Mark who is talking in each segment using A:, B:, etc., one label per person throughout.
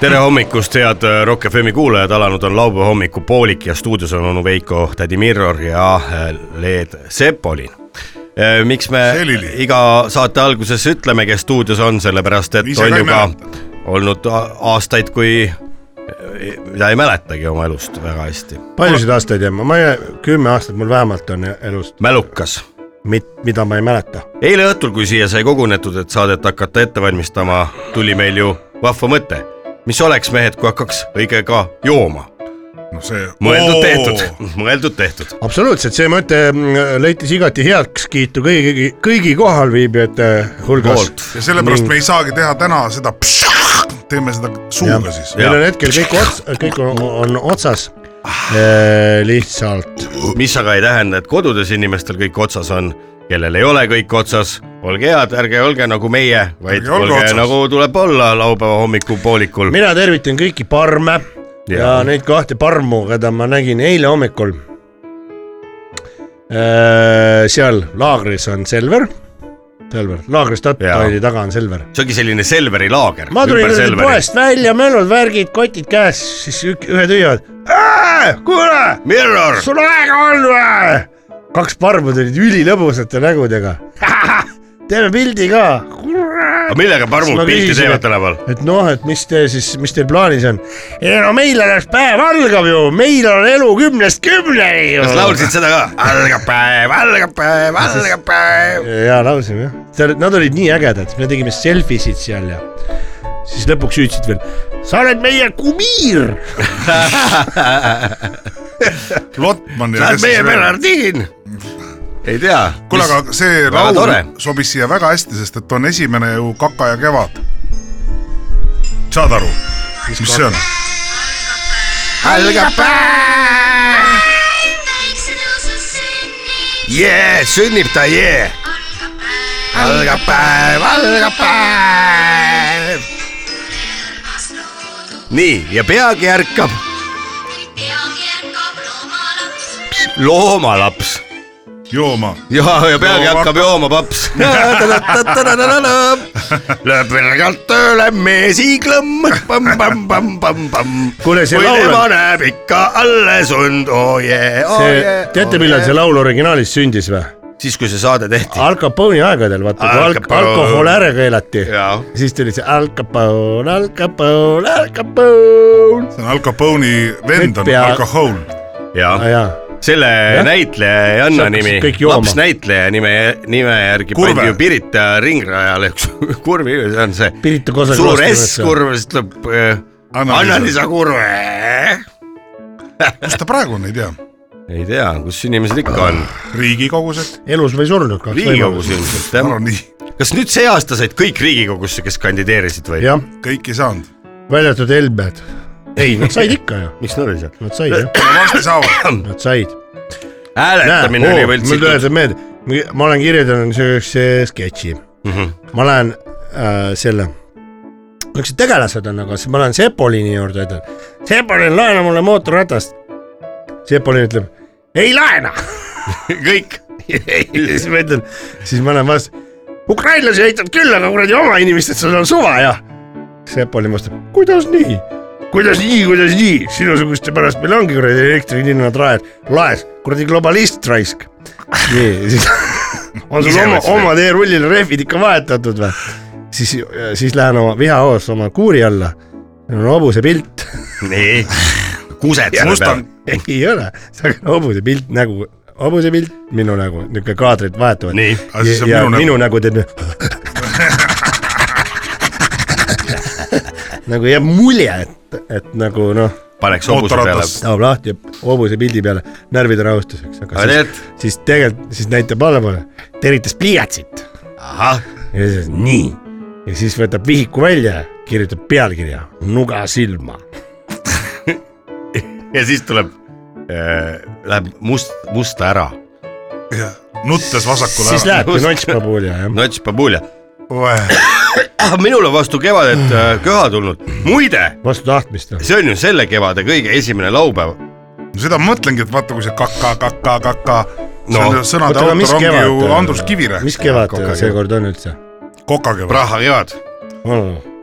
A: tere hommikust , head äh, Rock FM-i kuulajad , alanud on laupäeva hommikupoolik ja stuudios on onu Veiko , tädi Mirror ja äh, Leed Sepolin . miks me
B: Selili.
A: iga saate alguses ütleme , kes stuudios on , sellepärast et
B: Ise
A: on
B: ka ei
A: ju ka
B: mäleta.
A: olnud a- aastaid , kui äh, mida ei mäletagi oma elust väga hästi .
C: paljusid aastaid jah , ma ei , kümme aastat mul vähemalt on elust ,
A: mälukas .
C: mida ma ei mäleta .
A: eile õhtul , kui siia sai kogunetud , et saadet hakata ette valmistama , tuli meil ju vahva mõte . mis oleks , mehed , kui hakkaks õigega jooma ?
B: no see .
A: mõeldud tehtud , mõeldud tehtud .
C: absoluutselt , see mõte mm, leidis igati heakskiitu kõigi , kõigi kohalviibijate hulgas .
A: poolt .
B: ja sellepärast
C: Ning-
B: me ei saagi teha täna seda , teeme seda suuga siis .
C: meil on hetkel kõik ots- , kõik on, on otsas .
A: Ah.
C: lihtsalt
A: mis aga ei tähenda , et kodudes inimestel kõik otsas on , kellel ei ole kõik otsas , olge head , ärge olge nagu meie , vaid
B: Ärge olge
A: olge
B: otsas.
A: nagu tuleb olla laupäeva hommikupoolikul .
C: mina tervitan kõiki parme ja, ja
A: Jaa.
C: neid kahte parmu , keda ma nägin eile hommikul . seal laagris on Selver , Selver , laagris
A: Jaa.
C: Tatari taga on Selver .
A: see ongi selline Selveri laager .
C: ma tulin nüüd poest välja , mälud , värgid , kotid käes , siis ük- ühed hüüavad . kuule ,
A: Mirror ,
C: sul aega on või ? kaks parmu tulid ülilõbusate nägudega . teeme pildi ka .
A: millega parmud
C: ma
A: pilti
C: küsisin,
A: teevad
C: et-
A: tänapäeval ?
C: et noh , et mis te siis , mis teil plaanis on ? ei no meil alles päev algab ju , meil on elu kümnest kümneni ju .
A: kas laulsid seda ka ? algab päev , algab päev , algab päev .
C: ja laulsime jah , seal nad olid nii ägedad , me tegime selfisid seal ja siis lõpuks hüüdsid veel , sa oled meie kumiir .
B: Lotman ja
A: Lähed meie . Bernardin . ei tea .
B: kuule , aga see
A: Väga
B: laul
A: tore.
B: sobis siia väga hästi , sest et on esimene ju Kaka ja kevad . saad aru , mis see on ?
A: algab päev . jee , sünnib ta jee . algab päev , algab päev . nii ja peagi ärkab loomalaps
B: jooma .
A: ja , ja peagi
B: Looma-
A: hakkab jooma paps . Läheb virgalt tööle mees hiiglõmm , pamm-pamm-pamm-pamm-pamm .
C: Kuule, see
A: kui
C: laul on-
A: tema näeb ikka alles und , oh oo jee , oo
C: see
A: jee .,
C: teate , millal see laul originaalis sündis või ?
A: siis , kui see saade tehti .
C: Al Capone'i aegadel , vaata kui
A: Al
C: alk- ,
A: Capone.
C: alkohol ära keelati .
A: jaa .
C: siis tuli see Al Capone , Al Capone , Al Capone .
B: see on Al Capone'i vend on
C: Nüüd pea-
B: Al Capone .
C: aa
A: jaa ,
C: Ah, jaa ,
A: selle
C: Jah.
A: näitleja ei anna
C: See hakkas
A: nimi
C: kõik , jooma.
A: laps näitleja nime , nime järgi
B: Kurve.
A: pandi ju Pirita ringrajale üks kurv , see on see
C: Pirita Kosa
A: suur S-kurv , siis tuleb äh,
B: Anna-Liisa.
A: Anna-Liisa Kurve
B: kus ta praegu on , ei tea .
A: ei tea , kus inimesed ikka on ,
B: riigikogus äkki ?
C: elus või surnud Ah, kaks
A: Riigikogus
C: võimalust.
A: ilmselt
B: ma
A: jah .
B: arvan nii ,
A: kas nüüd see aasta said kõik Riigikogusse , kes kandideerisid või ?
C: jah ,
B: kõik ei saanud .
C: välja arvatud Helmed . ei , nad said ikka ju ,
A: miks nad ei saa ?
C: nad said jah ,
B: varsti saavad .
C: nad said .
A: hääletamine oli
C: mul
A: võltsitud .
C: tuletab meelde , ma olen kirjeldanud sellise sketši mm .
A: Mhm.
C: -hmm. ma lähen äh, selle , niisugused tegelased on , aga siis ma lähen Sepolini juurde , ütlen , Sepolin , laena mulle mootorratast . Sepolin ütleb , ei laena .
A: kõik .
C: siis ma ütlen , siis ma lähen vastu , ukrainlasi aitad küll , aga kuradi oma inimestest sul on suva ja . Sepolin vastab , kuidas nii ? kuidas nii , kuidas nii , sinusuguste pärast meil ongi kuradi elektrihinnad raed , laes , kuradi globalist raisk . nii , siis on sul
A: Ise
C: oma ,
A: võtsid
C: oma teerullil rehvid ikka vahetatud või ? siis , siis lähen oma vihaoos oma kuuri alla , on hobuse pilt ,
A: nii , kused selle peal
B: Mustang .,
C: ei ole , see on hobuse pilt nägu , hobuse pilt , minu nagu, nägu , niisugune kaadrid vahetuvad .
A: nii ,
B: aga siis on
C: ja
B: minu nagu-
C: minu,
B: nägu .
C: minu nägu teeb nii nagu jääb mulje , et , et nagu noh ,
A: paneks hobuse peale .
B: Mootorratas.
C: saab lahti hobuse pildi peale närvide rahustuseks , aga
A: Aga
C: siis , siis tegelikult siis näitab allapoole , teritas pliiatsit
A: ahah ,
C: ja siis nii ja siis võtab vihiku välja , kirjutab pealkirja Nuga silma
A: ja siis tuleb äh, läheb must , musta ära .
B: nuttes vasakule
C: siis
B: ära .
C: lähebki notšpabulja jah .
A: nats pabulja . minul on Ah, vastu kevadet äh, köha tulnud . muide ,
C: vastu tahtmist noh. või ?
A: see on ju selle kevade kõige esimene laupäev .
B: seda ma mõtlengi , et vaata , kui see kaka , kaka , kaka , see
A: No.
B: on ju sõnade autor ongi ju Andrus Kivire ,
C: mis kevad
A: Kokakevad.
C: seekord on üldse ?
B: kokakevad .
A: Praha kevad .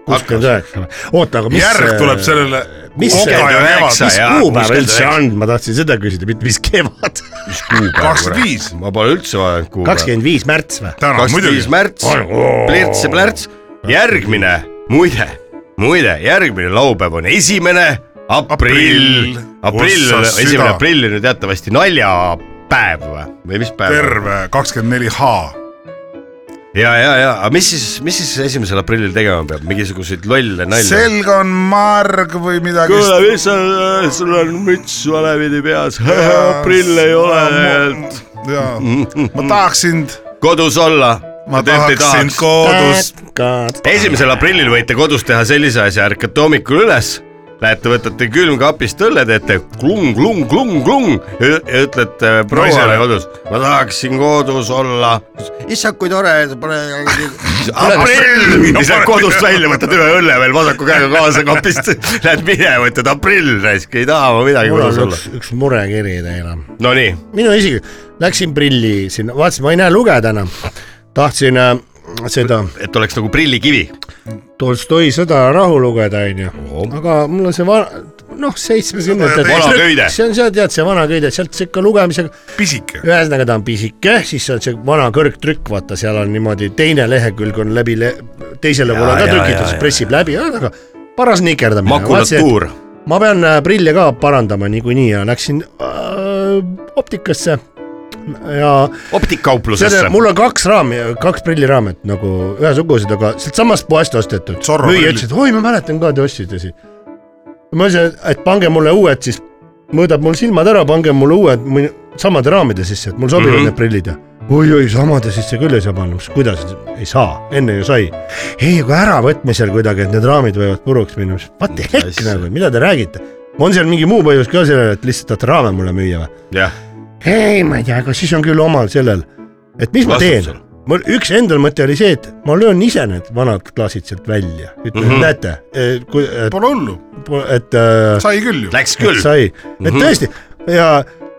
C: kuuskümmend üheksa . oota , aga mis .
B: järg tuleb sellele
C: mis see-
B: koka ja
A: üheksa
B: kevad
C: mis
A: ja-
C: kuupäev
A: kuuskümmend
C: üldse
A: üheksa.
C: on , ma tahtsin seda küsida , mitte mis kevad .
A: mis kuupäev ?
B: kakskümmend viis
A: ma pole üldse vaadanud kuupäeva .
C: kakskümmend viis märts või ?
B: täna
A: kakskümmend viis
B: muidugi .
A: märts , plirts ja plärts . järgmine , muide , muide , järgmine laupäev on esimene aprill
B: Aprill. .
A: aprill on
B: Ossa , süda.
A: esimene aprill on ju teatavasti naljapäev või- või mis päev ?
B: terve kakskümmend neli H .
A: ja , ja , ja , aga mis siis , mis siis esimesel aprillil tegema peab , mingisuguseid lolle nalju ?
B: selg on marg või midagi .
A: mis sa , sul on müts valevidi peas
B: jaa , ma tahaks sind ,
A: kodus olla .
B: ma tahaks sind kodus .
A: esimesel aprillil võite kodus teha sellise asja , ärkate hommikul üles , lähete , võtate külmkapist õlle , teete klung , klung , klung , klung ja ja ütlete prouale
B: Naisele.
A: kodus , ma tahaksin kodus olla . issand , kui tore , pane . aprill , ja sealt kodust välja võtad ühe õlle veel vasaku käega kaasa kapist , lähed minema , ütled aprill , raisk , ei taha ma midagi
C: mul
A: kodus
C: on
A: olla
C: üks , üks murekiri teile .
A: Nonii ,
C: minu isiklik , läksin prilli sinna , vaatasin , ma ei näe lugeda enam . tahtsin äh, seda
A: et oleks nagu prillikivi .
C: Tolstoi Sõda ja rahu lugeda , onju . aga mul on see vana , noh , seitsmekümnendate .
A: Vana köide.
C: see on see , tead , see vana köide , sealt sihuke lugemisega ,
B: pisike .
C: ühesõnaga ta on pisike , siis on see vana kõrgtrükk , vaata , seal on niimoodi , teine lehekülg on läbi le, , teisele poole
A: ja,
C: ka
A: ja,
C: trükitud , siis
A: ja.
C: pressib läbi , aga paras nikerdamine .
A: makulatuur .
C: ma pean äh, prille ka parandama niikuinii ja läksin äh, optikasse ja
A: optikauplusesse
C: selle , mul on kaks raami , kaks prilliraamet nagu ühesugused , aga sealtsamast poest ostetud .
B: Zorro
C: müüja
B: prillid.
C: ütles , et oi , ma mäletan ka , te ostsite siin . ma ütlesin , et pange mulle uued siis , mõõdab mul silmad ära , pange mulle uued mõni- samade raamide sisse , et mul sobivad mm -hmm. need prillid ja oi-oi , samade sisse küll ei saa panna , kuidas ei saa , enne ju sai . ei , aga äravõtmisel kuidagi , et need raamid võivad puruks minna , what the heck
A: Asja.
C: nagu , mida te räägite ? on seal mingi muu põhjus ka sellele , et lihtsalt tahate raame mulle müüa või ?
A: jah ,
C: ei , ma ei tea , aga siis on küll omal sellel , et mis ma teen
A: Vastutusel. .
C: mul üks endal mõte oli see , et ma löön ise need vanad klaasid sealt välja , ütlen
A: Mhm.
C: mm , -hmm. näete , kui , et,
B: Pole hullu ,
C: et, äh,
B: sai küll ju .
A: läks
C: et
A: küll . Mhm.
C: sai , et tõesti ja ,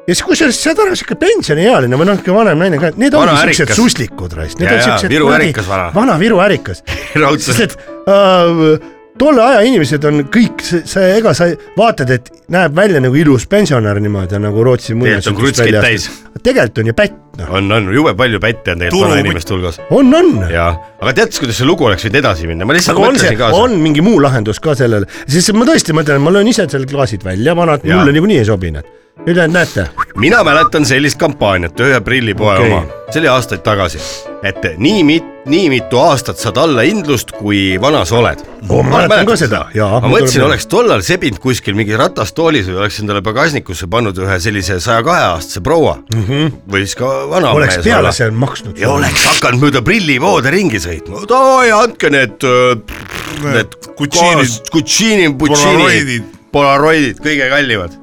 C: ja siis kusjuures saad aru , sihuke pensioniealine või natuke vanem naine ka , need
A: Vana
C: ongi siuksed
A: ärikas.
C: suslikud raisk , need
A: Jaa,
C: on
A: jaa,
C: siuksed
A: Viru ärikas vana.
C: vana Viru ärikas
A: raudselt
C: sest et äh, tolle aja inimesed on kõik , sa , ega sa vaatad , et näeb välja nagu ilus pensionär niimoodi nagu Rootsi
A: on krutskid täis. .
C: tegelikult on ju pätt noh ,
A: on , on jube palju pätte on tegelikult
B: Turu-
A: vanainimeste hulgas .
C: on , on .
A: jaa , aga tead siis , kuidas see lugu oleks võinud edasi minna , ma lihtsalt
C: aga on see
A: nagu mõtlesin , kaasa .
C: on mingi muu lahendus ka sellele , sest ma tõesti mõtlen , ma löön ise seal klaasid välja , vanad
A: Jaa.
C: mulle niikuinii ei sobi need . ülejäänud näete ,
A: mina mäletan sellist kampaaniat , ühe prillipoe
C: Okei.
A: okay. oma , see oli aastaid tagasi , et nii mit- , nii mitu aastat saad alla hindlust , kui vana sa oled .
C: ma mäletan ka seda, jaa.
A: ma mõtlesin , oleks tollal sebinud kuskil mingi ratastoolis või oleks endale pagasnikusse pannud ühe sellise saja kahe aastase proua mm -hmm. või siis ka vana
C: Mhm. oleks peale . seal maksnud .
A: ja oleks hakanud mööda prillivoode ringi sõitma , davai , andke need , need
B: Gucci'nid. ,
A: Gucci'ni , Puccini
B: Polaroidid. ,
A: Polaroidid , kõige kallimad .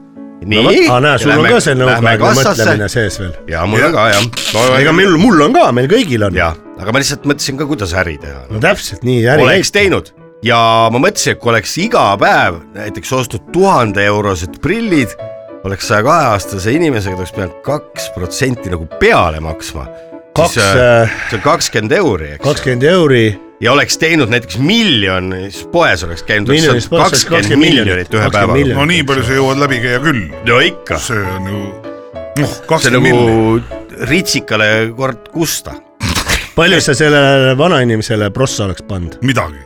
A: nii
C: aga näe , sul on ka see nõukaaegne mõtlemine . sees veel .
A: ja mul on ka jah .
C: ega meil , mul on ka , meil kõigil on .
A: ja , aga ma lihtsalt mõtlesin ka , kuidas äri teha
C: no täpselt nii , äri
A: oleks teinud ja ma mõtlesin , et kui oleks iga päev näiteks ostnud tuhande eurosed prillid , oleks saja kahe aastase inimesega , ta oleks pidanud kaks protsenti nagu peale maksma .
C: Kaks, äh,
A: see on kakskümmend euri , eks ju .
C: kakskümmend euri
A: ja oleks teinud näiteks miljon , siis poes oleks käinud , oleks
C: Miljonis
A: saanud
C: poes oleks
A: kakskümmend
C: 20
A: miljonit ühe
C: miljonit.
A: päevaga .
B: no nii palju sa jõuad läbi käia küll ,
A: no ikka ,
B: see on ju , noh ,
A: see
B: kakskümmend miljonit .
A: nagu ritsikale kord kusta ,
C: palju sa sellele vanainimesele prossa oleks pannud ?
B: midagi .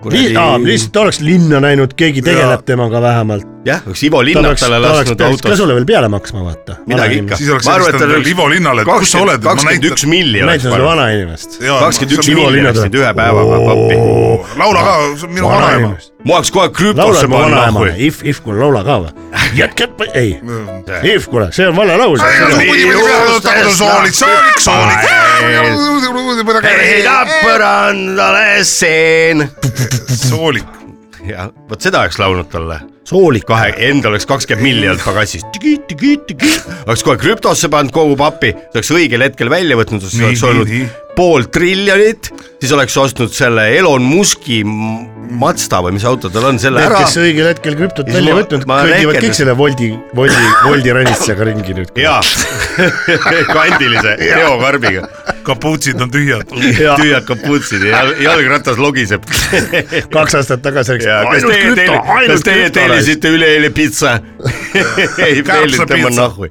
A: Kuradi-
C: lihtsalt oleks linna näinud , keegi tegeleb
B: Jaa.
C: temaga vähemalt .
A: jah , oleks Ivo
C: ta
A: Linnak
C: oleks , ta
A: talle
C: oleks
A: lasknud
C: pidanud ka
A: autos
C: sulle veel peale maksma , vaata .
A: midagi ikka .
B: Siis oleks helistanud veel Ivo Linnale, et kus sa oled, et ma
A: kakskümmend
B: näitan-
A: üks miljonit .
C: näitan sulle vanainimest .
A: kakskümmend üks
C: Ivo Linna
A: miljonit
C: tuleb.
A: sind ühe päevaga pappi .
B: laula ka , see on minu vanaema .
A: ma oleks kohe krüptosse
C: laulad mu
A: pannud
C: vanaemale ,
A: nahku .
C: If , If , kuule laula ka või ? jätkab , ei , If , kuule , see on vale laul .
B: soolik , soolik , soolik .
A: ei , tapper on alles seen .
B: soolik ,
A: ja vot seda oleks laulnud talle .
C: soolik
A: kahe , endal oleks kakskümmend miljonit pagassis , oleks kohe krüptosse pannud kogu papi , oleks õigel hetkel välja võtnud , siis
B: Nii,
A: oleks
B: nii,
A: olnud
B: nii.
A: pool triljonit , siis oleks ostnud selle Elon Musk'i m- Mazda või mis auto tal on , selle
C: Need ,
A: ära
C: kes õigel hetkel krüptot
A: Siis
C: välja
A: ma-
C: võtnud ,
A: ma
C: kõndivad
A: rehkendan-
C: kõik selle Woldi , Woldi , Woldi ranitsaga ringi nüüd .
A: ja kandilise teokarbiga ,
B: kapuutsid on tühjad .
A: tühjad kapuutsid ja jal- jalgratas logiseb .
C: kaks aastat tagasi rääkis ,
A: ja kas
C: ainult
A: teie
C: krüpto ,
A: telli- , kas
C: ainult
A: teie
C: krüpto .
A: tellisite üleeile pitsa ei
B: Kärbse
A: peelinud tema
B: pitsa.
A: nahku .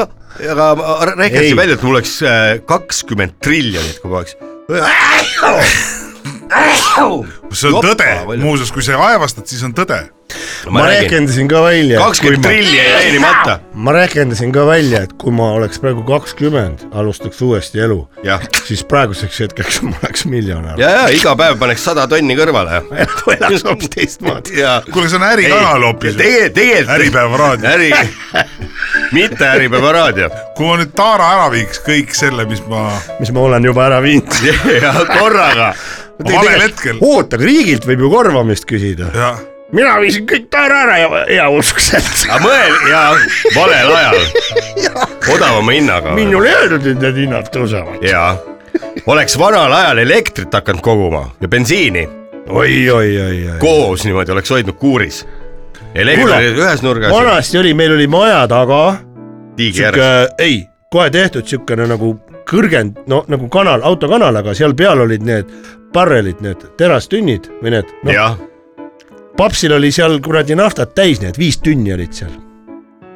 A: noh , aga ma r-
C: Ei.
A: rehkendasin välja , et mul oleks äh, kakskümmend triljonit , kui ma oleks .
B: see on
A: Joppa,
B: tõde ,
A: palju.
B: muuseas , kui sa aevastad , siis on tõde .
C: ma rehkendasin ka välja .
A: kakskümmend trilli jäi teenimata .
C: ma rehkendasin ka välja , et kui ma oleks praegu kakskümmend , alustaks uuesti elu ,
A: jah ,
C: siis praeguseks hetkeks ma oleks miljonär .
A: ja , ja iga päev paneks sada tonni kõrvale .
C: elaks hoopis teistmoodi .
A: ja .
B: kuule , see on ärikanal hoopis .
A: tegelikult , tegelikult .
B: Äripäeva raadio.
A: äri , mitte Äripäeva raadio .
B: kui ma nüüd Taara ära viiks kõik selle , mis ma
C: mis ma olen juba ära viinud .
A: ja korraga .
B: valel hetkel ,
C: oota , aga riigilt võib ju korvamist küsida .
B: jah ,
C: mina viisin kõik taara ära ja heauskselt .
A: aga mõel- ja valel ajal , odavama hinnaga .
C: minul ei öeldud , et need hinnad tõusevad .
A: ja , oleks vanal ajal elektrit hakanud koguma ja bensiini
C: oi , oi , oi , oi .
A: koos niimoodi oleks hoidnud kuuris .
C: Kuule,
A: elekter ühes nurgas ,
C: vanasti oli , meil oli maja taga
A: tiigi
C: sihuke
A: järg .,
C: ei , kohe tehtud siukene nagu kõrgend , no nagu kanal , autokanal , aga seal peal olid need barrelid , need terastünnid või need no, ,
A: jah ,
C: papsil oli seal kuradi naftat täis , need viis tünni olid seal .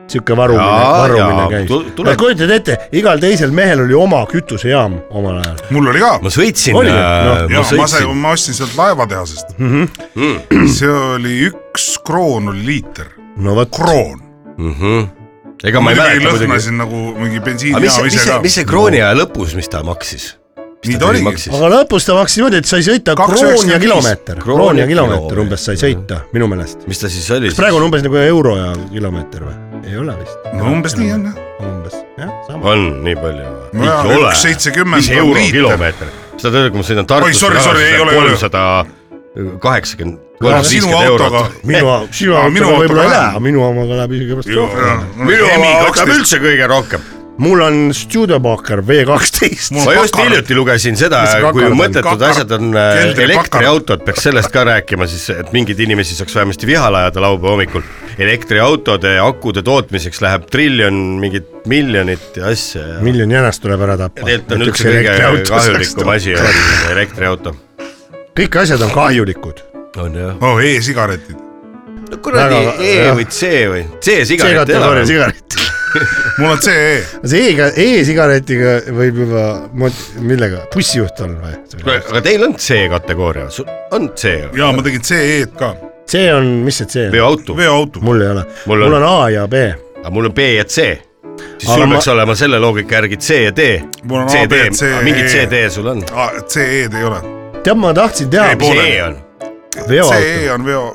C: sihuke varumine ,
A: Jaa,
C: varumine
A: jaa, tu-
C: käis .
A: tuleb-
C: kujutad ette , igal teisel mehel oli oma kütusejaam omal ajal .
B: mul oli ka .
A: ma sõitsin . äh,
C: Oli või? Noh,
B: ja ma sain , ma ostsin sealt laevatehasest . see oli üks kroon oli liiter ,
C: no vot ,
B: kroon .
A: mhmh , Mhm. ega ma ei
B: muidugi
A: mäleta muidugi .
B: lõhnasin nagu mingi
A: aga
B: bensiini
A: mis ,
B: jaam
A: mis
B: ise
A: see
B: ka ,.
A: mis see krooni aja lõpus , mis ta maksis ?
B: nii ta oligi .
C: aga lõpus ta maksis niimoodi , et sai sõita
B: Kaks
C: kroon ja
B: üheksakümmend viis.
C: kilomeeter ,
A: Kroon
C: kroon
A: ja
C: ja kilomeeter
A: kilomeeter.
C: umbes sai sõita minu meelest .
A: mis ta siis oli
C: kas ? praegu on umbes nagu euro ja kilomeeter või ? ei ole vist .
B: no umbes nii on jah .
C: umbes jah , sama .
A: on nii palju või ?
B: Nojah,
A: ei ole .
B: üks 70 on
A: euro
B: liiter.
A: kilomeeter . sa tead , kui ma sõidan
B: Oi,
A: Tartust .
B: sorry, sorry, ei ole, ei ole.
A: kolmsada kaheksakümmend ,
B: Ah,
A: kolmsada
B: sinu
A: viiskümmend
B: autoga
A: eurot .
C: minu , sinu
B: Aa, minu
C: autoga võib-olla ei
B: autoga
C: lähe ,
B: vähem.
C: minu omaga läheb isegi pärast rohkem .
A: minu oma võtab . üldse kõige rohkem .
C: mul on Studebaker V kaksteist .
B: Mul
A: ma just
B: kakard.
A: hiljuti lugesin seda
C: Mis see ,
A: kui
C: kakard on?
A: mõttetud
B: Kakard.
A: asjad on äh,
B: Keldri
A: elektriautod , peaks sellest ka rääkima siis , et mingeid inimesi saaks vähemasti vihale ajada laupäeva hommikul . elektriautode akude tootmiseks läheb triljon mingit miljonit ja asja ja
C: miljoni jänest tuleb ära tappa .
A: tegelikult on üldse kõige kahjulikum asi on elektriauto .
C: kõik asjad on kahjulikud .
A: on jah .
B: oh , e-sigaretid .
A: no kuradi
C: Väga-
A: E
C: jah.
A: või C või C sigaret ei
C: C-kategooria
A: ole .
C: sigaret .
B: mul on CE .
C: see e-, E-sigaretiga võib juba , millega , bussijuht on või ?
A: aga teil on C kategooria , on C või?
B: ja ma tegin CE-d ka ,
C: see on , mis see C on ?
A: veoauto ,
B: veoauto .
C: mul ei ole ,
A: Mul
C: mul
A: on.
C: on A ja B
A: aga mul on B ja C . siis
C: Aga
A: sul
C: ma-
A: peaks olema selle loogika järgi C ja D .
B: Mul on A,
A: CD
B: B, , C,
A: mingit
B: E.
A: CD sul on ?
B: CE-d ei ole .
C: tead , ma tahtsin teha
B: Ei,
A: mis
B: Pooleli.
A: E on ?
C: veoauto ,
B: CE on veo ,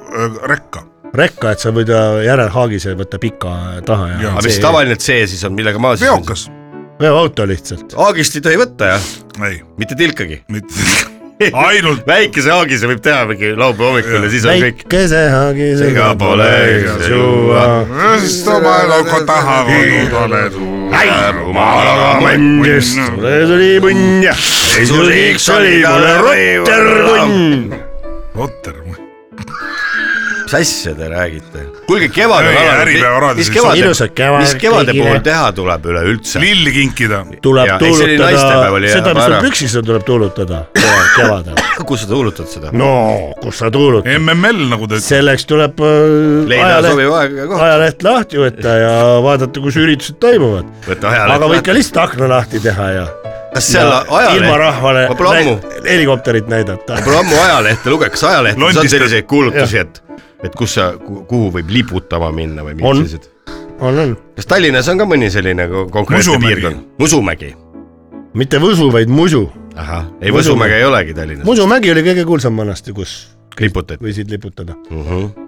B: rekka .
C: rekka , et sa võid äh, järelhaagise võtta pika taha ja,
B: Jaa.
A: aga mis
C: See-
A: tavaline C siis on , millega ma siis ?
B: E. veokas .
C: veoauto lihtsalt .
A: haagist ei tohi võtta jah ,
B: ei ,
A: mitte tilkagi .
B: mitte ainult
A: väikese haagise võib teha mingi laupäeva hommikul ja siis on kõik .
C: väikese haagisega
A: Ega pole õigus juua. .
B: sest oma eluga taha võtnud oled .
C: mulle tuli punn ja esimeseks oli mulle rotterpunn .
B: Otter ,
A: mis asja te räägite ? kuulge , kevad on
B: Ei, Äripäeva
A: alanud ,
B: raadios
A: mis
B: ei
A: kevade ,
C: Ilusat kevadet
A: mis kevade
C: kõigile.
A: puhul teha tuleb üleüldse ?
B: lilli kinkida .
C: tuleb
A: Jaa, ei, see oli naistepäev
C: tuulutada
A: oli, , jah,
C: seda , mis
A: ära.
C: sul püksis on , tuleb tuulutada kevadel .
A: kus sa tuulutad seda ?
C: no kus sa tuulutad ,
B: MML nagu ta ütleb ,
C: selleks tuleb äh,
A: leida
C: ajaleht ,
A: sobiv aeg ja koht .
C: ajaleht lahti võtta ja vaadata , kus üritused toimuvad .
A: võta ajaleht
C: aga võid ka lihtsalt akna lahti teha ja
A: kas seal
C: ja ilma rahvale
A: ma pole ammu ,
C: näid- helikopterit näidata .
A: pole ammu ajalehte lugeks , ajaleht , seal on
B: Londist-
A: selliseid kuulutusi , et , et kus sa , kuhu võib liputama minna või
C: On.
A: mingid sellised .
C: on , on ,
A: kas Tallinnas on ka mõni selline ko- konkreetne
B: Musumägi.
A: piirkond ? Musumägi .
C: mitte Võsu , vaid Musu .
A: ahah , ei
C: Musumägi.
A: Võsumäge ei olegi Tallinnas ,
C: Musumägi oli kõige kuulsam vanasti , kus
A: liputati .
C: võisid liputada .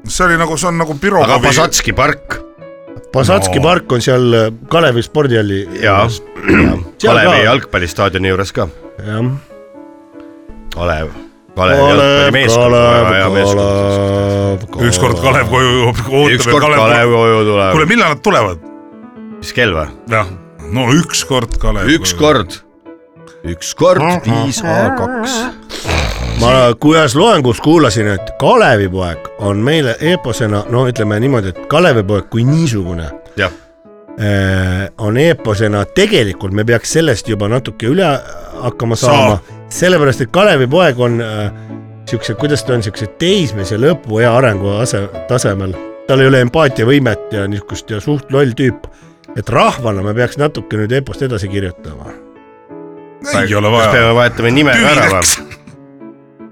B: see oli nagu , see on nagu
A: aga
B: Pirogovi ,
A: Pasatski park
C: Pasatski no. park on seal äh, Kalevi spordihalli .
A: ja
C: Seal
A: Kalevi
C: ka.
A: jalgpallistaadioni juures ka ,
C: jah ,
A: Kalev . Kalev jalgpallimeeskond väga hea meeskond .
B: ükskord Kalev koju jõuab ,
A: ükskord
B: ootame
A: Kalev
B: Kalev .
A: koju
B: kuule ,
A: tuleb .
B: millal nad tulevad ?
A: mis kell või ?
B: jah , no ükskord Kalev .
A: üks . kord , üks kord viis A kaks .
C: ma kuidas loengus kuulasin , et Kalevipoeg on meile eeposena , no ütleme niimoodi , et Kalevipoeg kui niisugune
A: jah ,
C: eh, on eeposena , tegelikult me peaks sellest juba natuke üle hakkama saama , sellepärast et Kalevipoeg on eh, siukse , kuidas ta on siukse teismelise lõpu ja arengu ase, tasemel , tal ei ole empaatiavõimet ja niisugust ja suht loll tüüp , et rahvana me peaks natuke nüüd eepost edasi kirjutama ,
B: ei ole
A: kas
B: vaja .
A: peame vahetama nime ka ära või ?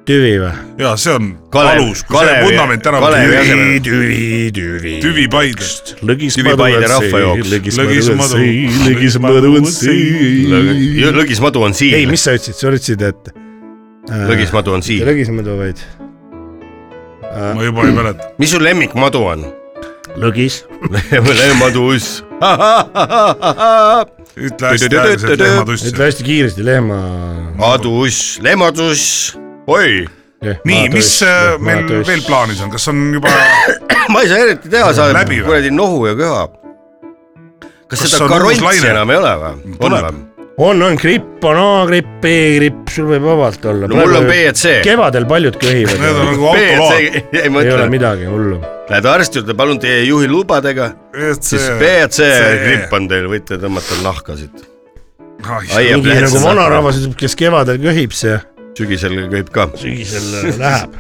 C: tüvi või ?
B: ja see on
A: Kalev-
B: alus , kui see
A: Kalevi-
B: vundament ära
A: Kalevi asemel.
B: tüvi ,
C: tüvi , tüvi
B: tüvi Paidest .
A: Tüvi-Paide rahvajooks.
B: Lõgismadu-
C: lõgismadu .
A: lõgismadu on siin .
C: ei , mis sa ütlesid , sa ütlesid , et . äh,
A: lõgismadu on siin .
C: lõgismadu vaid .
B: ma juba ei mäleta .
A: mis su lemmikmadu on ?
C: lõgis .
A: lemmadus .
B: ütle hästi aeglaselt lehmatussi
C: ütle . hästi kiiresti lehma .
A: Adus , lemmadus . oi ,
B: nii , mis äh, meil veel ? plaanis on , kas on juba ,
A: ma ei saa eriti teha , sa oled
B: Läbi või?
A: kuradi nohu ja köha . kas
B: Kas
A: seda
B: on uus
A: karotsi
B: laine?
A: enam ei ole või ? on
B: Tuleb.
A: või ?
C: on , on gripp , on A-gripp , B-gripp , sul võib vabalt olla .
A: no mul on B ja C .
C: kevadel paljud
B: need on
C: köhivad .
B: nagu
A: B ja
B: autoload .
A: C , ei ma
C: ei ole
A: ütlen ,
C: midagi hullu .
A: lähed arsti juurde , palun teie juhi lubadega , siis B ja C gripp on teil , võite tõmmata nahka siit . Ai, jah.
B: on .
C: mingi
A: plehts
C: nagu
A: saab
C: vanarahvas , kes kevadel köhib , see
A: sügisel köhib ka .
C: sügisel läheb .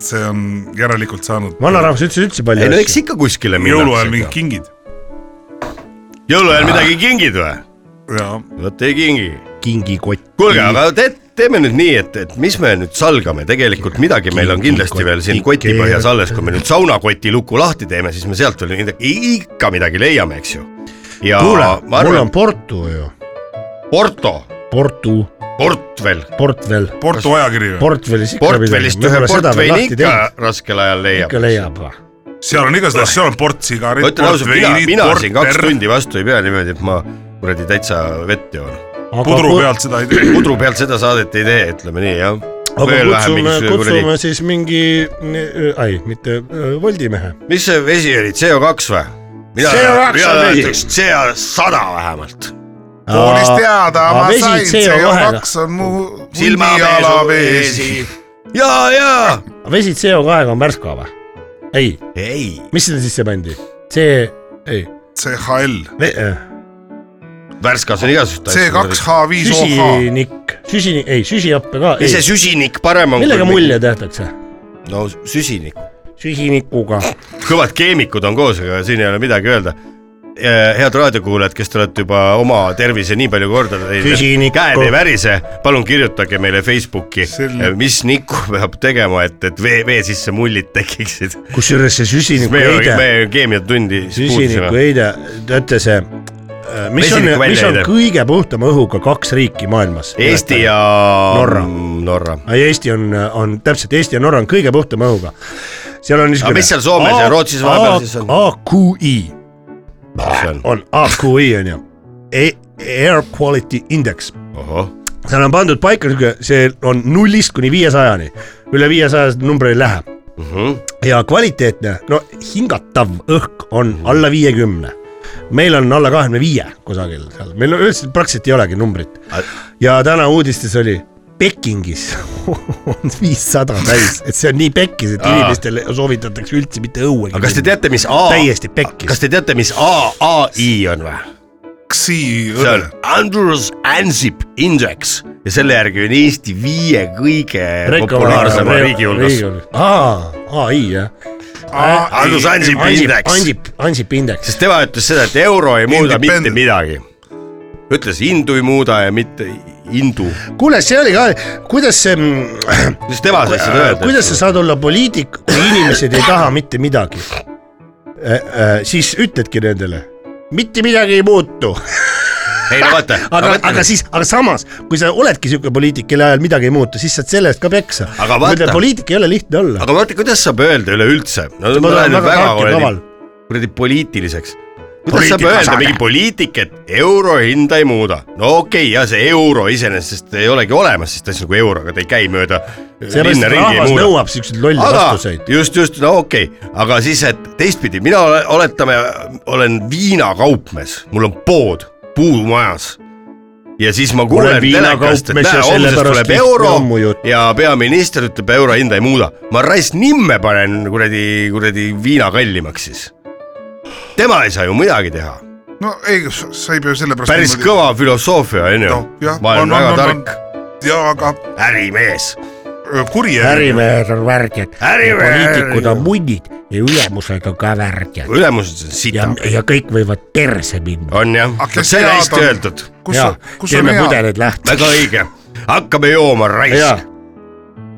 B: see on järelikult saanud
C: vanarahvas ütles üldse palju
A: ei no eks ikka kuskile
B: jõuluajal mingid
A: minnakse .
B: kingid .
A: jõuluajal midagi kingid või ?
B: ja
A: vot ei kingi
C: kingikott .
A: kuulge , aga te, teeme nüüd nii , et , et mis me nüüd salgame , tegelikult midagi meil on kindlasti veel siin koti põhjas alles , kui me nüüd saunakoti luku lahti teeme , siis me sealt veel midagi , ikka midagi leiame , eks ju . ja
C: kuule
A: ma ,
C: mul
A: arvan
C: on , Porto ju ,
A: Porto ,
C: Porto ,
A: portfell ,
C: portfell ,
B: Porto ajakiri või ?
C: portfellis ikka
A: portfellist ühe portveini ikka . raskel ajal leiab .
C: ikka leiab .
B: seal on igasuguseid , seal on port sigaret
A: ma , ütlen
B: port
A: ausalt , mina ,
B: veinid ,
A: mina siin
B: port
A: kaks
B: verre ,
A: tundi vastu ei pea niimoodi , et ma kuradi täitsa vett joon .
B: pudru . pealt seda ei tee .
A: pudru pealt seda saadet ei tee , ütleme nii , jah .
C: aga kutsume , kutsume siis mingi , ai , mitte äh, Voldimehe .
A: mis see vesi oli , CO2 või ? mina
C: CO2 ,
A: mina
C: on vesi.
A: ütleks CO100 vähemalt .
B: koolis teada
C: Aa,
B: ma
C: vesi
B: sain ,
C: CO2-ga.
B: CO2 on mu mundialavees .
A: silmapesu . ja , ja .
C: vesi CO2-ga on värska või ? ei ,
A: ei ,
C: mis sinna sisse pandi ? äh, see , ei ,
B: CHL ,
A: värskas on igasugust
B: C2H5OH .
C: süsinik , süsinik , ei süsihappe ka ,
A: ise
C: ei ,
A: süsinik parem on .
C: millega mulje tehtakse ?
A: no süsinik ,
C: süsinikuga .
A: kõvad keemikud on koos , aga siin ei ole midagi öelda . head raadiokuulajad , kes te olete juba oma tervise nii palju korda teinud ,
C: Süsinikku.
A: käed ei värise , palun kirjutage meile Facebooki eh,
B: Selle- ,
A: mis nikku peab tegema , et , et vee , vee sisse mullid tekiksid .
C: kusjuures see süsiniku
A: me ,
C: heide
A: me keemiatundi siis puutusime .
C: süsiniku heide , teate see , mis on
A: Vesiniku ,
C: mis on
A: väljaheide.
C: kõige puhtama õhuga kaks riiki maailmas ?
A: Eesti ja .
C: Norra.
A: Norra
C: ei , Eesti on , on täpselt , Eesti ja Norra on kõige puhtama õhuga . seal on niisugune .
A: mis seal Soomes ja Rootsis vahepeal siis on?
C: AQI
A: mis see on ?
C: on , AQI on ju , E, Air Quality Index ,
A: ohoh ,
C: seal on pandud paika niisugune , see on nullist kuni viiesajani , üle viiesaja number ei lähe
A: Mhm.
C: ja kvaliteetne , no hingatav õhk on
A: Mhm.
C: alla viiekümne . meil on alla kahekümne viie kusagil seal , meil üldse praktiliselt ei olegi numbrit . ja täna uudistes oli Pekingis on viissada täis , et see on nii pekkis , et inimestele soovitatakse üldse mitte õue .
A: aga kas te ? teate , mis A ,
C: täiesti pekkis
A: kas . te teate , mis A , ai on või ?
B: Xi
A: see
B: õde
A: on . Andrus Ansip Index ja selle järgi on Eesti viie kõige populaarsema riigi hulgas .
C: aa , ai jah .
A: Andrus Ansip Index ,
C: Ansip , Ansip indeks .
A: sest tema ütles seda , et euro ei muuda
B: Independent.
A: mitte midagi . ütles hindu ei muuda ja mitte hindu ,
C: kuule , see oli ka , kuidas see mm,
A: siis tema sai seda öelda .
C: kuidas sa saad olla poliitik , kui inimesed ei taha mitte midagi ? siis ütledki nendele , mitte midagi ei muutu ,
A: ei no vaata ,
C: aga , aga siis , aga samas , kui sa oledki niisugune poliitik , kelle ajal midagi ei muutu , siis saad selle eest ka peksa
A: Aga . vaata-
C: poliitik ei ole lihtne olla .
A: aga vaata , kuidas saab öelda üleüldse no, .
C: ma olen väga tark ja
A: kuradi
C: kaval. ,
A: kuradi poliitiliseks . kuidas saab öelda mingi poliitik , et euro hinda ei muuda ? no okei okay, , ja see euro iseenesest ei olegi olemas , sest ta siis nagu euroga , ta ei käi mööda
C: seepärast
A: linna
C: et
A: ringi ei
C: rahvas
A: muuda .
C: nõuab siukseid lolle
A: aga
C: vastuseid .
A: just , just , no okei okay. , aga siis , et teistpidi , mina ole- oletame , olen viinakaupmees , mul on pood , puu majas ja siis ma kuulen
C: Olen
A: telekast , et
C: viinakaupmees
A: näe
C: ja ,
A: homsest
C: sellepärast
A: tuleb
C: lihtne
A: euro
C: on mu jutt.
A: ja peaminister ütleb , euro hinda ei muuda . ma raisk nimme panen kuradi , kuradi viina kallimaks siis . tema ei saa ju midagi teha .
B: no ei , sa ei pea sellepärast .
A: päris . kõva filosoofia on ju
B: Noh, jah, .
A: ma olen
B: on- on-
A: väga
B: on-
A: tark
B: ja aga
A: ärimees .
B: öö, kuri äri .
C: ärimehed on värdjad ,
A: Ärimehed-
C: poliitikud on munnid ja ülemused on ka värdjad
A: ülemused on
C: ja
A: sita ,,
C: ja kõik võivad perse minna .
A: on jah
B: Aga , kes
A: see on
B: teab,
A: hästi
B: on-
A: öeldud ,
B: kus
C: ja
B: sa , kus on
C: teeme
B: hea ,
C: pudelid lahti .
A: väga õige . hakkame jooma
C: ja
A: raisk ,.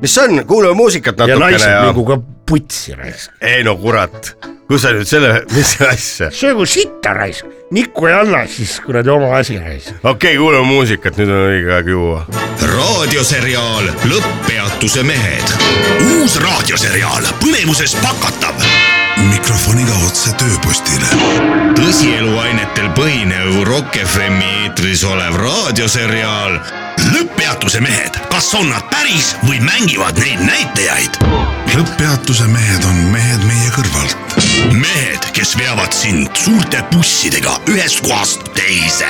A: mis see on , kuulame muusikat
C: ja nagu-
A: natukene
C: naised
A: ja,
C: mingu ka putsi raisk .
A: ei no kurat , kus sa nüüd selle , mis asja ,
C: söögu sitta raisk , nikku ei anna , siis kuradi oma asi raisk .
A: okei okay, , kuulame muusikat , nüüd on õige aeg juua
D: raadioseriaal Lõpppeatuse mehed . uus raadioseriaal põnevuses pakatav .
E: mikrofoniga otse tööpostile .
D: tõsieluainetel põhinev Rock FM-i eetris olev raadioseriaal Lõpppeatuse mehed , kas on nad päris või mängivad neid näitajaid ?
E: lõpppeatuse mehed on mehed meie kõrvalt .
D: mehed , kes veavad sind suurte bussidega ühest kohast teise .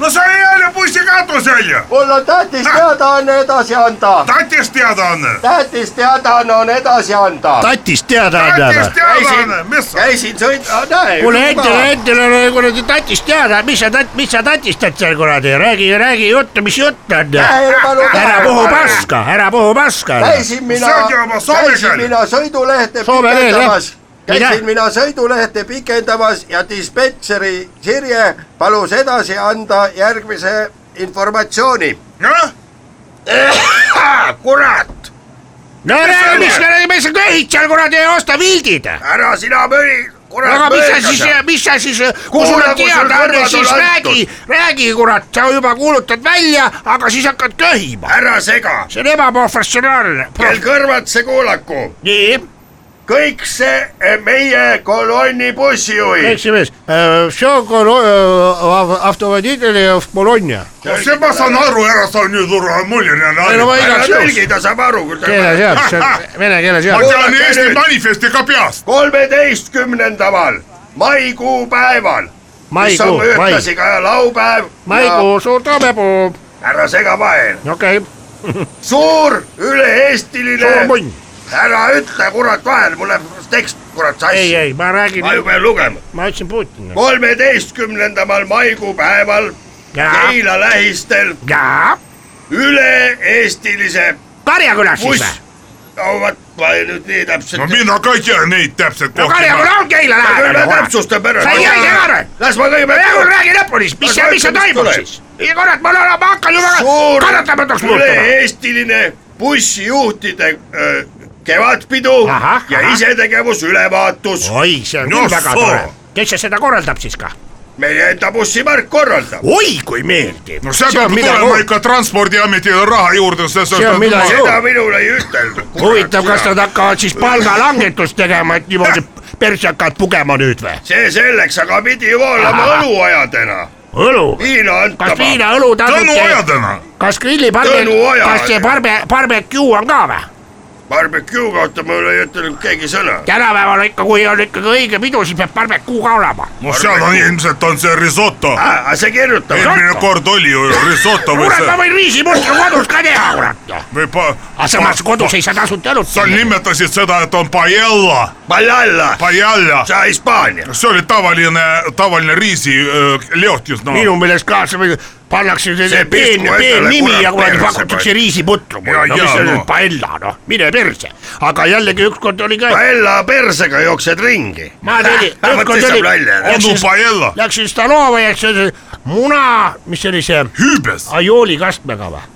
B: no sa ei ole bussikatus onju .
F: mul on tähtis teadaanne edasi anda ,
B: tatjast teadaanne .
F: tähtis teadaanne on edasi anda .
C: tatist teada anda
B: tatjast
C: või ?
B: teadaanne , mis sa ,
F: käisin sõitma , näe .
C: kuule Endel , Endel on kuradi tatist teada , mis sa tat- , mis sa tatistad seal kuradi , räägi , räägi juttu , mis jutt on . ära puhu . paska , ära puhu paska .
F: käisin mina
B: See ongi oma , soome
F: käisin
B: keel.
F: mina sõidulehte
C: Soome keel, jah.
F: pikendamas ,
C: Mida?
F: käisin mina sõidulehte pikendamas ja dispetšeri Sirje palus edasi anda järgmise informatsiooni .
C: Noh.
B: jah ?
F: kurat ,
C: no räägi , mis , mis sa köhid seal kuradi , osta vildid .
F: ära sina möri , kurat .
C: aga mis sa siis , mis sa siis , kui sul on
F: kui sul
C: teada on ,
F: kõrvad
C: siis
F: on
C: räägi , räägi kurat , sa juba kuulutad välja , aga siis hakkad köhima .
F: ära sega ,
C: see on ebaprofessionaalne .
F: kel kõrvad see kuulaku
C: nii ,
F: kõik see eh, meie kolonni bussijuhid .
C: esimees , see on äh, kol- , autovõtjatele Bologna .
B: see ma saan aru , ära sa nüüd urva muljeline
C: ei no ma
B: anna .
F: ära
C: igaks juhuks ,
F: tõlgi , ta saab aru , kui ta .
C: keeleseadus , vene
B: ma
C: keeleseadus .
B: tean Eesti manifesti ka peast .
F: kolmeteistkümnendaval maikuu päeval , mis on
C: maikuu , mai ,
F: möödasi ka laupäev .
C: maikuu suur toomepuu ,
F: ära sega vahel ,
C: okei ,
F: suur
C: suur
F: üle-eestiline ,
C: munn .
F: ära ütle kurat vahel , mul läheb tekst kurat
C: ei ,
F: sassi ,
C: ei , ma räägin
F: ma , ju pean lugema .
C: ma ütlesin Putinile .
F: kolmeteistkümnendamal maikuu päeval
C: jaa ,
F: Keila lähistel
C: jaa ,
F: üle-eestilise
C: Karjakülas siis
F: buss
C: või ?,
F: no vot , ma nüüd nii täpselt
B: no mina ka ei tea neid täpselt
C: no
B: kohti .
C: Karjaküla on Keila
F: küll me
C: lähedal .
F: täpsustame ära .
C: Sa ei jää siia ära.
F: las ma
C: Rahu ,
F: kõigepealt .
C: räägi lõpuni siis , mis
F: Aga ,
C: mis seal
F: ütle, mis
C: toimub
F: tuleb.
C: siis ? ei kurat , ma olen , ma hakkan juba
F: suur
C: kannatamatuks muutuma .
F: üle-eestiline bussijuhtide öö, kevadpidu
C: Ahah,
F: ja
C: ahah.
F: isetegevusülevaatus
C: oi , see on
B: No
C: küll väga
B: soo.
C: tore . kes see seda korraldab siis kah ?
F: meie enda bussipark korraldab .
C: oi , kui meeldib .
B: no see peab tulema ikka Transpordiametile raha juurde , sest .
C: See on midagi uut.
F: seda minule ei ütelnud .
C: huvitav , kas nad hakkavad siis palgalangetust tegema , et niimoodi persse hakkavad pugema nüüd või ?
F: see selleks , aga pidi ju olema
C: Ahah.
F: õluajadena ,
C: õlu ,
F: viina
C: kas
F: antama .
C: viina õlu
B: Tõnu
C: tasub ?
B: ajadena .
C: kas grilliparbe
F: Tõnu , aja-
C: kas see barbe , barbeque on ka või ?
F: Barbecue kohta mulle ei ütelnud keegi sõna .
C: tänapäeval ikka , kui on ikkagi õige pidu , siis peab barbeque ka olema .
B: no seal on ilmselt on see risoto .
F: aga see kirjutab .
B: eelmine kord oli ju risoto või
C: kurat , ma
B: see
C: võin riisimustru kodus ka teha , kurat .
B: või pa-
C: aga samas kodus ei saa tasuta õlut .
B: sa nimetasid seda , et on paella .
A: Pajalla ,
B: Pajalla ,
A: sa Hispaania .
B: see oli tavaline , tavaline riisi öö, leotus , no .
G: minu meelest kaasa või- pannakse
A: See
G: see peen
A: pisku ,
G: peen
A: endale
G: nimi
A: kurat
G: ja kuradi
A: perse
G: pakutakse
A: panna.
G: riisiputru
B: Ja-
G: mulle , no
B: ja,
G: mis see
B: no.
G: on , paella noh , mine perse . aga jällegi ükskord oli ka ,
A: Paella persega jooksed ringi .
G: ma tegin , ükskord oli ,
B: onu paella ,
G: läksin Stalova ja siis oli muna , mis see oli see ,
B: hüübes
G: ajooli kastmega või ?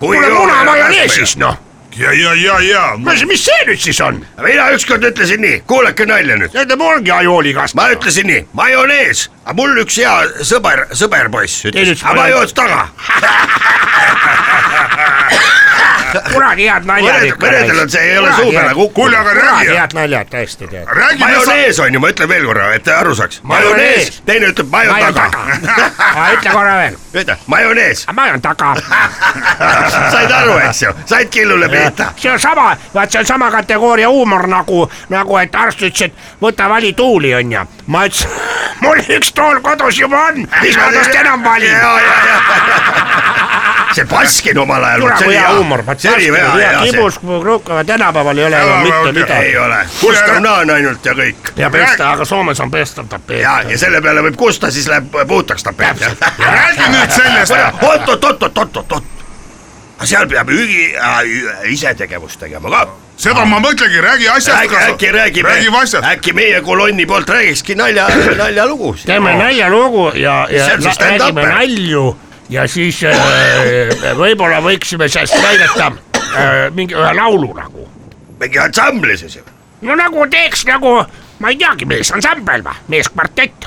G: kuule muna majoneesis noh ,
B: ja , ja , ja , ja no. .
G: mis see nüüd siis on ?
A: mina ükskord ütlesin nii , kuulake nalja nüüd .
G: Nende ongi ajooli
A: ma
G: kastmega .
A: ütlesin nii , majonees , aga mul üks hea sõber , sõberpoiss
G: Teil
A: ütles
G: üks ,
A: aga ma
G: majonees-
A: joon taga .
G: kuradi head naljad
A: mõned ,
G: ikka .
A: mõnedel on see , ei ole suu peale
B: kuule ,
A: kukkunud .
B: aga
G: kuradi
B: räägi ,
G: head naljad tõesti tead .
B: räägi .
A: majonees on ju , ma ütlen veel korra , et te aru saaks . majonees
G: Majonees. ,
A: teine ütleb majo
G: majon taga
A: taga ..
G: ütle korra veel ,
A: ütle , majonees .
G: majon taga .
A: said aru , eks ju , said killule pihta .
G: see on sama , vaat see on sama kategooria huumor nagu , nagu et arst ütles , et võta vali tuuli onju . ma ütlesin , mul üks tool kodus juba on , mis ma tast enam valin .
A: see Baskin omal ajal .
G: tule kui hea huumor , vaat
A: see oli hea , hea see .
G: kibus , kui kruukava tänapäeval ei ole enam mitte midagi .
A: ei ole , Gustav Naan ainult ja kõik .
G: ja pesta , aga Soomes on pestav
A: ja ,
G: tapeet .
A: ja selle peale võib kusta , siis läheb puhtaks tapet .
B: räägi nüüd sellest ,
A: oot-oot-oot-oot-oot-oot . aga seal peab hügi , isetegevust tegema ka .
B: seda
G: Ah.
B: ma mõtlengi , räägi asjast
A: äkki , äkki räägime
B: räägime , asjast .
A: äkki meie kolonni poolt räägikski nalja , naljalugusid .
G: teeme naljalugu ja , ja
A: See on siis
G: na- räägime
A: stand-upper.
G: nalju ja siis äh, võib-olla võiksime sellest näidata äh, mingi ühe laulu nagu .
A: mingi ansambli siis ju .
G: no nagu teeks nagu , ma ei teagi , meesansambel või , meeskvartett ,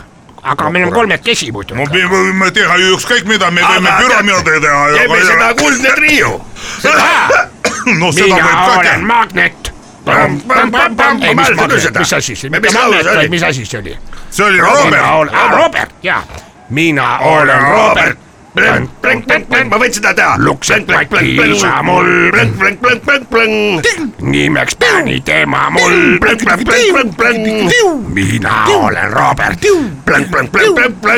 G: aga meil on kolmekesi muidu .
B: me võime teha ju ükskõik mida , me võime
A: Aga
B: püramiide teha .
A: teeme seda Kuldne Trio .
B: no seda
G: mina
B: võib ka
G: olen
B: teha .
G: magnet .
A: Pamm, pamm, pamm, pamm, ma mäletan küll seda.
G: mis asi see ,
A: Me-
G: mitte
A: mis laul see
G: magnet ,
A: oli?
G: vaid mis asi see oli ?
B: see oli
G: mina
B: Robert ,
G: olen , Robert , jaa . mina olen Robert .
A: ma võin seda teha .
G: Luksed platiisa mul. nimeks pani tema mul . mina olen Robert .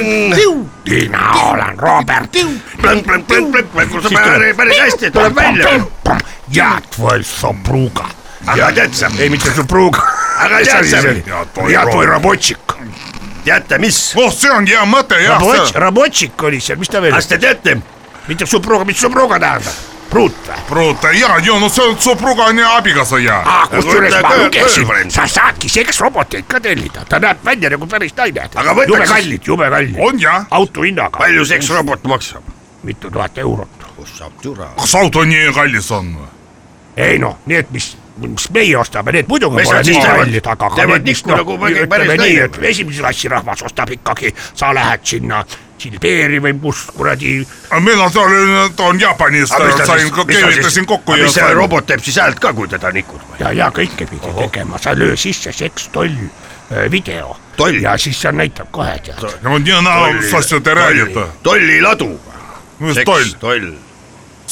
G: mina olen Robert .
A: kus on päris , päris hästi tuleb välja .
G: ja твой супруга .
A: aga tead sa ,
G: ei , mitte супруга .
A: aga tead sa ,
G: ja твой работчик .
A: teate mis ?
B: oh , see ongi hea mõte , jah .
G: Работчик oli seal , mis ta veel
A: kas , te teate ,
G: mitte supruga , mis supruga tähendab ? pruut või ?
B: Pruuta ja , ja no see on sõpruga on ja abikaasa ja .
G: aa , kusjuures
A: Võta
G: ma
A: töö-
G: lugesin ,
A: töövariant.
G: sa saadki selleks roboteid ka tellida , ta näeb välja nagu päris naine .
A: Aga võtaks
G: jube
A: siis-
G: kallid , jube kallid .
B: on jah ,
G: auto hinnaga
A: palju see üks robot maksab ?
G: mitu tuhat eurot .
A: kus saab türa ?
B: kas auto nii kallis on ?
G: ei noh , need , mis , mis meie ostame , need muidugi
A: Mis
G: pole
A: nad siis
G: nii
A: teevad?
G: kallid , aga , aga
A: Teevad
G: need , mis noh,
A: nikku nagu mingi päris
G: ütleme nii ,
A: naine.
G: et esimese klassi rahvas ostab ikkagi , sa lähed sinna Silberi või kus kuradi ,
B: mina olen , ta on Jaapanist , sain , keevitasin kokku ja
A: mis see
B: sain .
A: robot teeb siis häält ka , kui teda nikud või ?
G: ja , ja kõike pidi tegema , sa löö sisse seks toll äh, video
A: Toll.
G: ja siis seal näitab kohe tead .
B: no nii näo , sassi te räägite .
A: tolliladu .
B: mis toll ,
A: toll ,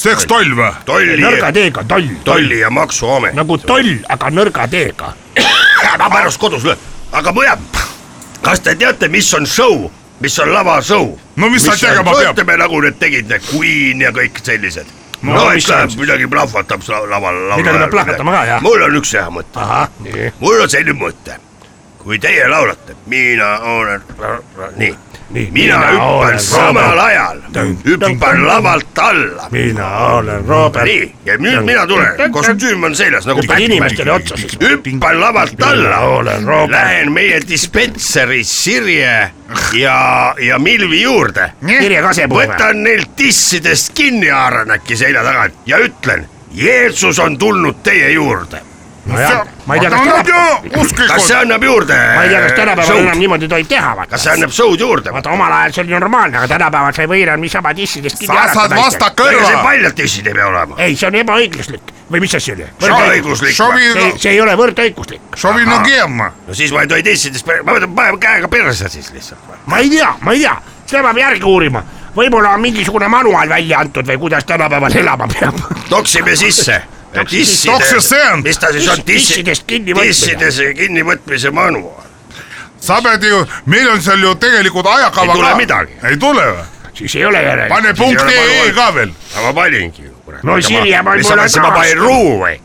B: seks toll või ?
G: nõrga
A: tolli ,
G: teega toll ,
A: tolli ja maksuamet .
G: nagu toll , aga nõrga teega .
A: ma pärast kodus löön , aga mujal , kas te teate , mis on show , mis on lavashow ?
B: No mis ta tegema peab?
A: ütleme nagu need tegid , need Queen ja kõik sellised . no,
G: No
A: no
G: mis
A: ikka
G: on siis?
A: midagi plahvatab sa- laval , laval .
G: Midagi peab plahvatama ka, jah?
A: mul on üks hea mõte ,
G: ahah , nii ,
A: mul on selline mõte , kui teie laulate , mina olen , nii, nii ,
G: Nii,
A: mina
G: mina
A: hüppan
G: olen
A: samal
G: Robert.
A: ajal , hüppan lavalt alla .
G: mina olen Robert .
A: nii , ja nüüd mina tulen , kostüüm on seljas nagu
G: hüppad inimestele otsa siis .
A: hüppan lavalt alla ,
G: olen Robert.
A: lähen meie dispenseri Sirje ja , ja Milvi juurde .
G: Sirje kasepuu või?
A: võtan neilt tissidest kinni , haaran äkki selja tagant ja ütlen , Jeesus on tulnud teie juurde .
G: nojah , ma ei tea , kas tänapäeval ,
A: kas see
B: usklikult .
A: annab juurde ?
G: ma ei tea , kas tänapäeval enam niimoodi tohib teha , vaata .
A: kas see annab show'd juurde ?
G: vaata omal ajal see oli normaalne , aga tänapäeval sa ei või enam niisama tissidest kinni
B: sa saad
G: naistel.
B: vasta
A: ega see
B: kõrva .
A: paljalt tissid ei pea olema .
G: ei , see on ebaõiguslik või mis asi oli ?
A: õiguslik .
B: Šovi-
G: see , see ei ole võrdõiguslik .
B: Šovinogeemma .
A: no siis ma ei tohi tissidest , ma võtan , panen käega perse siis lihtsalt .
G: ma ei tea , ma ei tea , seda peab järgi uurima . võib-olla on mingisugune manuaal välja antud või kuidas tänapäeval elama peab .
A: toksime sisse .
B: Toksis see on.
A: mis ta siis on ,
G: Tissidest kinnivõtmine.
A: tissides kinnivõtmise manuaal .
B: sa pead ju , meil on seal ju tegelikult ajakava
A: Ei tule
B: ka.
A: midagi.
B: ei tule või ?
G: siis ei ole järele .
B: pane punkt
A: ei ole
B: ee
A: manuaali.
B: ka veel .
A: aga ma paningi ju kurat .
G: No Sirje, ma ei
A: mis sa
G: pole
A: mõtlesid , ma
G: taas-
A: panin ruu või ?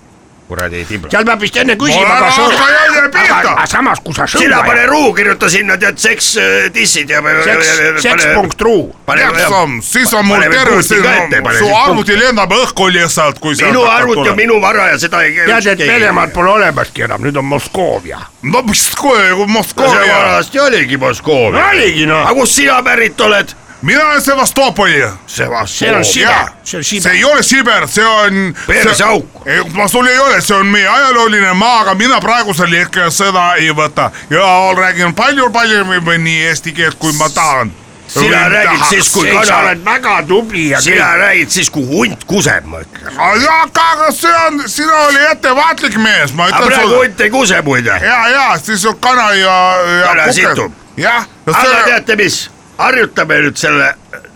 A: kuradi ei tibla .
C: seal peab vist enne küsima ,
B: Ole
C: kas on
B: rahva ja ei piirda!
C: aga aga samas , kui sa
A: sina
C: sõuda
A: pane ruu , kirjuta sinna tead seks äh, dissid ja .
C: seks ,
A: э,
C: seks.ru ,
A: pane ,
B: Jaksam, siis on mul
A: paneme
B: tervis ,
A: kuuti ka ette, pane
B: su
A: siis
B: arvuti lendab õhku lihtsalt , kui sa .
A: minu arvuti on . minu vara ja seda ei .
C: tead , et Venemaad pole olemaski enam , nüüd on Moskoovia .
B: no mis , kui
A: see
B: Moskva ,
A: vanasti oligi Moskoovia .
C: oligi noh ,
A: aga kust sina pärit oled ?
B: mina olen Sevastopoli .
C: see on
A: Sevastopol .
C: Siber
B: jaa. ,
C: see on
B: see
C: Siber ,
B: ei ole Siber , see on .
A: Perseauk.
B: ma sul ei ole , see on meie ajalooline maa , aga mina praegusel hetkel seda ei võta ja räägin palju-palju nii eesti keelt , kui ma tahan .
A: sina räägid siis , kui
C: sa
A: kana ,
C: oled väga tubli ja
A: sina räägid siis , kui hunt kuseb , ma ütlen .
B: aga , aga see on , sina oli ettevaatlik mees , ma
A: aga
B: ütlen
A: praegu
B: sulle .
A: hunt ei kuse muide .
B: ja , ja siis on kana ja , ja
A: Kana situb. .
B: jah ,
A: aga teate mis , harjutame nüüd selle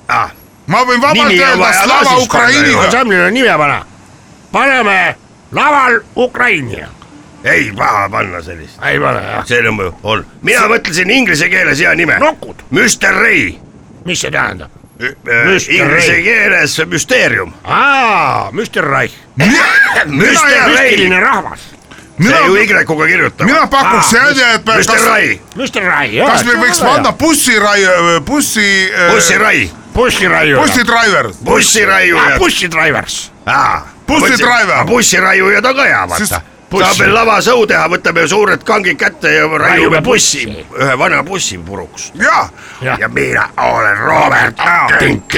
A: ah, ,
B: ma võin
A: Nimi
B: vabalt
A: on
B: öelda
A: vaja
B: Slava
A: laasist panna ju.
B: Ukrainiga .
C: ansamblir on nime vana , paneme laval Ukraina ,
A: ei paha panna sellist .
C: ei pane jah ,
A: see on mu , on , mina mõtlesin inglise keeles hea nime .
C: nokud ,
A: Mr Ray ,
C: mis see tähendab ? Mr. Ray.
A: Äh, inglise keeles müsteerium .
C: aa , Mr Reich ,
B: Äh,
A: Mr Ray ,
C: müstiline rahvas ,
A: see Ah, ju
B: mina ,
A: Y-ga kirjutab .
B: mina pakuks välja , et me-
A: Mr
B: kas ,
A: Ray ,
C: Mr Reich , jah .
B: kas me võiks panna ? bussiraie , bussi . äh,
A: Bussi Ray ,
C: bussiraiuja ,
B: bussidraiver ,
A: Bussi raiuja .
C: bussidraivers ,
B: Bussidraiver.
A: bussiraiuja ta ka ja
B: Siis
A: vaata . saab
C: bussi-
A: veel lavasõu teha , võtame suured kangid kätte ja raiume
C: Raiume
A: bussi
C: bussi. ,
A: ühe vana bussi puruks .
B: jaa . Ah,
C: jah
A: ja . mina olen Robert Tink .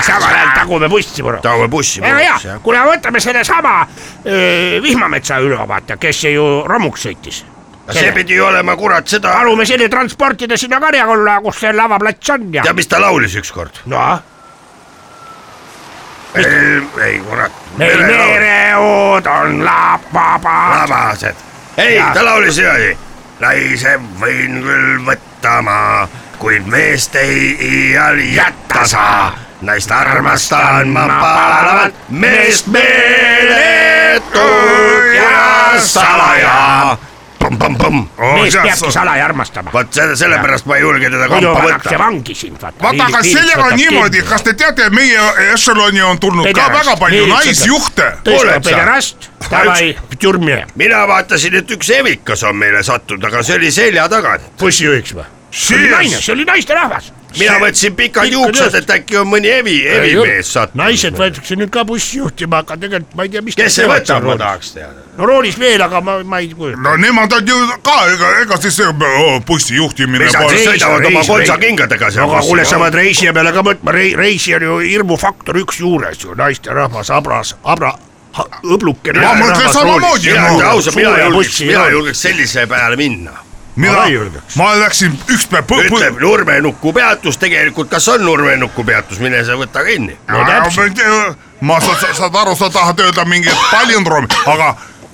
C: samal ajal tagume bussi korra .
A: taome bussi
C: väga
A: puruks
C: hea
A: jah ,.
C: kuule võtame sellesama öö, vihmametsa üle , vaata , kes ju romuks sõitis .
A: see pidi ju olema kurat seda ,
C: palume selle transportida sinna Karjakulla , kus see lavaplats on ja
A: tead , mis ta laulis ükskord ?
C: noh ,
A: ei kurat .
C: meil mereood on lavaba .
A: labased . ei , ta laulis niimoodi . naise võin küll võtta ma , kuid meest ei iial jätta saa . naist armastan ma palavalt , meest meeletult ja salaja . Oh,
C: mees peabki salaja armastama .
A: vot selle , sellepärast ma ei julge teda
C: muidu
A: kampa
C: pannakse
A: võtta .
C: vangi sind , vaata .
B: vaata , aga sellega on niimoodi , kas te teate , meie ešeloni on tulnud ka
C: Pederast,
B: väga palju
C: nii,
B: naisjuhte .
C: tõstab
A: oled sa?
C: pederast , davai , tjurmi ,
A: mina vaatasin , et üks evikas on meile sattunud , aga see oli selja tagant .
C: bussijuhiks või ? see oli naine , see oli naisterahvas .
A: mina võtsin pikad
C: Pikad
A: juuksed ,
C: juuksed.
A: et äkki on mõni evi , evimees sattunud .
C: naised võetakse nüüd ka bussijuhtima , aga tegelikult ma ei tea , mis .
A: kes see võtab , ma ? tahaks teada .
C: no roolis veel , aga ma , ma ei kujuta .
B: no nemad on ju ka , ega , ega siis öö, bussijuhtimine
A: mis nad
B: pole
A: siis
C: reis-
A: sõidavad oma
C: reis-
A: kolsakingadega seal
C: aga kuule , sa pead reisija peale ka mõtlema , rei- , reisi on ju hirmufaktor üks juures ju , naisterahvas , abras , abra , õbluke .
B: Ma mõtlen samamoodi,
A: mina
B: no.
A: ütlen ausalt , mina julgeks , mina . julgeks sellise peale minna .
B: mina
C: Ma ei julgeks. ,
B: ma läksin ükspäev põ- ,
A: ütleb Nurmenuku peatus , tegelikult kas on Nurmenuku peatus , mine sa võta kinni .
C: no täpselt ,
B: põ- , ma sa, sa, saad aru , sa tahad öelda mingit palindroomi , aga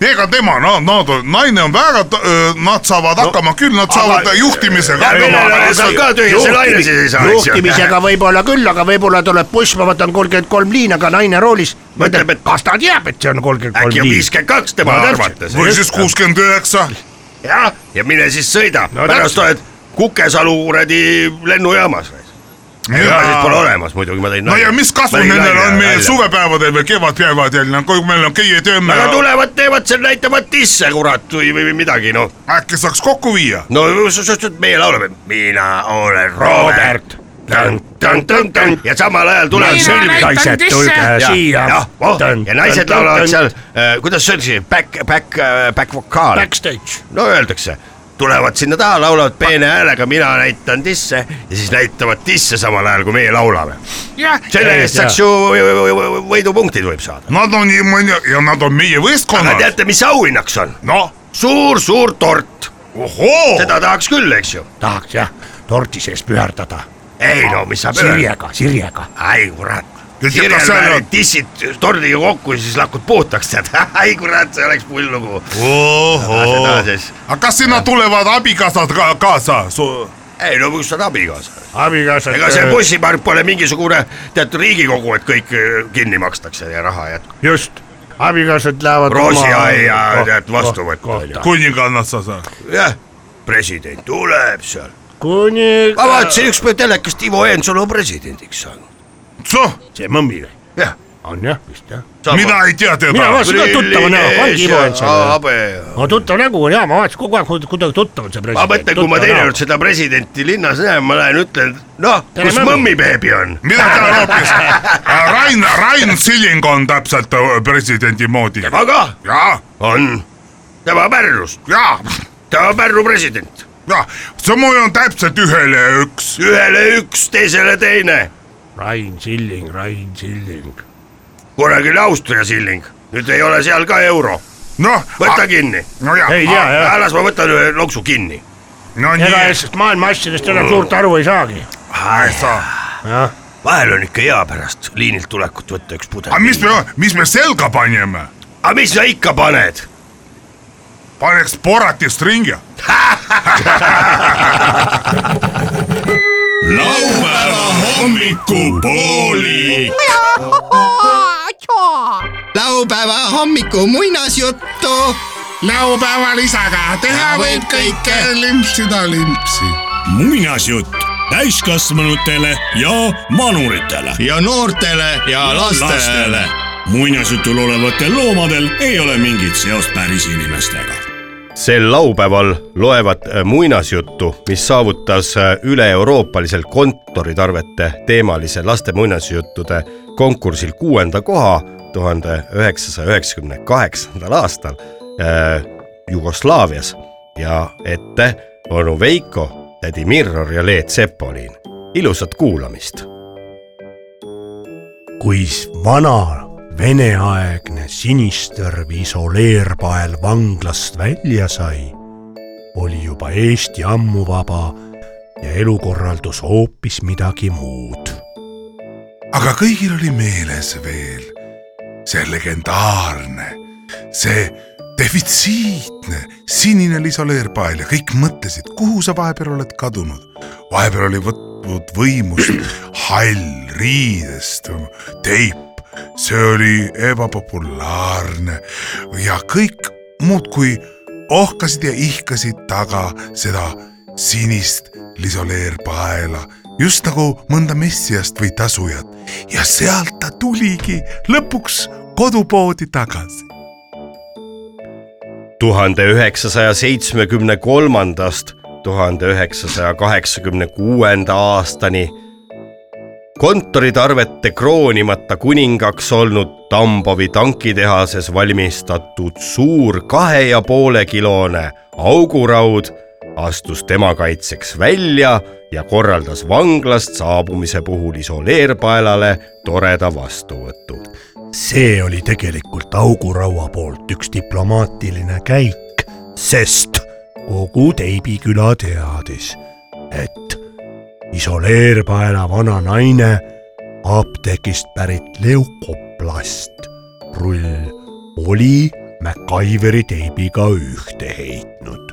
B: ega tema , no , no naine on väga , nad saavad hakkama küll , nad saavad juhtimisega
A: ja millele
B: hakkama .
A: sa ka tühjase laine siis ei saa , eks ju .
C: juhtimisega võib-olla küll , aga võib-olla tuleb buss , ma võtan kolmkümmend kolm liin , aga naine roolis
A: Mõtleb,
C: mõtleb ,
A: et-
C: et kas ta teab , et see on kolmkümmend kolm
A: äkki on
C: liin .
A: viiskümmend kaks tema
C: No täpselt.
A: arvates .
B: või siis kuuskümmend üheksa
A: jah , ja mine siis sõida no, ,
C: No
A: pärast
C: täpselt.
A: oled Kukesalu kuradi lennujaamas . ega siis pole olemas muidugi , ma tõin .
B: no ja mis kasu nendel on meil ? suvepäevadel või kevadpäevadel , kui meil on köie töö ,
A: aga tulevad , teevad seal , näitavad tisse , kurat , või , või midagi , noh .
B: äkki saaks kokku viia .
A: no sa sa ütled , meie laulame , mina olen Robert .
C: Robert .
A: ja samal ajal tuleb sõlmi .
C: naised , tulge siia .
A: oh, ja naised laulavad . seal , kuidas see on siis , back , back , back vokaal ,
C: Backstage .
A: no öeldakse tulevad sinna taha , laulavad peene häälega , mina näitan tisse ja siis näitavad tisse samal ajal , kui meie laulame . selle eest saaks ju võidupunktid võib saada .
B: Nad on nii mõni ja nad on meie
A: aga
B: võistkonnad .
A: teate , mis auhinnaks on ?
B: noh ,
A: suur-suur tort ,
B: ohoo ,
A: seda tahaks küll , eks ju .
C: tahaks jah , tordi sees püherdada .
A: ei no mis sa pöörad ,
C: sirjega , sirjega .
A: ai kurat .
B: Ja tead,
A: Sirel
B: kas seal
A: väärid
B: on-
A: tissid tordiga kokku ja siis lakud puhtaks , tead , ai kurat , see oleks pull lugu .
B: ohoo
A: seda . siis ,
B: aga kas sinna tulevad abikaasad ka kaasa Su... ?
A: ei no kus on abikaasa .
C: abikaasa .
A: ega see . bussipark pole mingisugune , tead riigikogu , et kõik äh, kinni makstakse ja raha jätkub .
C: just , abikaasad lähevad .
A: roosiaia , tead , vastu võtta , onju .
B: kuningannas sa saad .
A: jah , president tuleb seal .
C: kuni .
A: ma vaatasin ükspäev telekast , Ivo Eenson on presidendiks saanud .
B: see
C: see mõmmi või ?
A: jah ,
C: on jah , vist jah .
B: mina ei tea teda
C: mina . vaatasin ka tuttava näoga , on Ivo Ants .
A: habe .
C: aga tuttav nägu on jaa , ma vaatasin kogu aeg kud- kuidagi tuttav on see
A: ma
C: president .
A: mõtlen , kui ma teinekord seda presidenti linnas näen , ma lähen ütlen , noh ,
C: Tere,
A: kus
C: mõmm.
A: mõmmibeebi on .
B: mina tean hoopis , Äh, Rain , Rain Siling on täpselt äh, presidendi moodi .
A: tema ka
B: ja ,
A: on , tema Pärnust ,
B: ja ,
A: tema Pärnu president ,
B: ja , see mul on täpselt ühele üks .
A: ühele üks , teisele teine ,
C: Rain Silling , Rain Silling .
A: kunagi oli Austria silling , nüüd ei ole seal ka euro ,
B: noh ,
A: võta kinni ,
B: no ja ,
C: ei tea jah ,
A: las ma võtan ühe loksu kinni .
B: no
C: ega
B: nii ,
C: sest maailma asjadest enam suurt aru ei saagi .
B: ei saa .
C: jah ,
A: vahel on ikka hea pärast liinilt tulekut võtta üks pudel .
B: aga Ah, mis me , mis me selga panime ?
A: aga mis sa ikka paned ?
B: paneks Boratist ringi .
D: laupäeva hommikupooli .
H: laupäeva hommiku muinasjuttu .
I: laupäeva lisaga teha võib kõike , limpsida limpsi .
D: muinasjutt täiskasvanutele ja manuritele .
H: ja noortele ja lastele .
D: muinasjutul olevatel loomadel ei ole mingit seost päris inimestega .
A: sel laupäeval loevad äh, muinasjuttu , mis saavutas äh, üle-euroopalisel kontoritarvete teemalise laste muinasjuttude konkursil kuuenda koha tuhande üheksasaja üheksakümne kaheksandal aastal äh, Jugoslaavias ja ette onu Veiko , tädi Mirror ja Leet Sepolin . ilusat kuulamist .
C: kui s- vana veneaegne sinistõrv isoleerpael vanglast välja sai , oli juba Eesti ammu vaba ja elukorraldus hoopis midagi muud .
B: aga kõigil oli meeles veel see legendaarne , see defitsiitne sinine lisoleerpael ja kõik mõtlesid , kuhu sa vahepeal oled kadunud . vahepeal oli võtnud võimust hall riidest teip , see oli ebapopulaarne ja kõik muudkui ohkasid ja ihkasid taga seda sinist lisoleerpaela , just nagu mõnda messiast või tasujat ja sealt ta tuligi lõpuks kodupoodi tagasi .
A: tuhande üheksasaja seitsmekümne kolmandast tuhande üheksasaja kaheksakümne kuuenda aastani kontoritarvete kroonimata kuningaks olnud Tambovi tankitehases valmistatud suur kahe ja poole kilone auguraud astus tema kaitseks välja ja korraldas vanglast saabumise puhul isoleerpaelale toreda vastuvõtu
C: see oli tegelikult auguraua poolt üks diplomaatiline käik , sest kogu Teibi küla teadis , et isoleerpaela vana naine apteegist pärit leukoplast rull oli MacGyveri teibiga ühte heitnud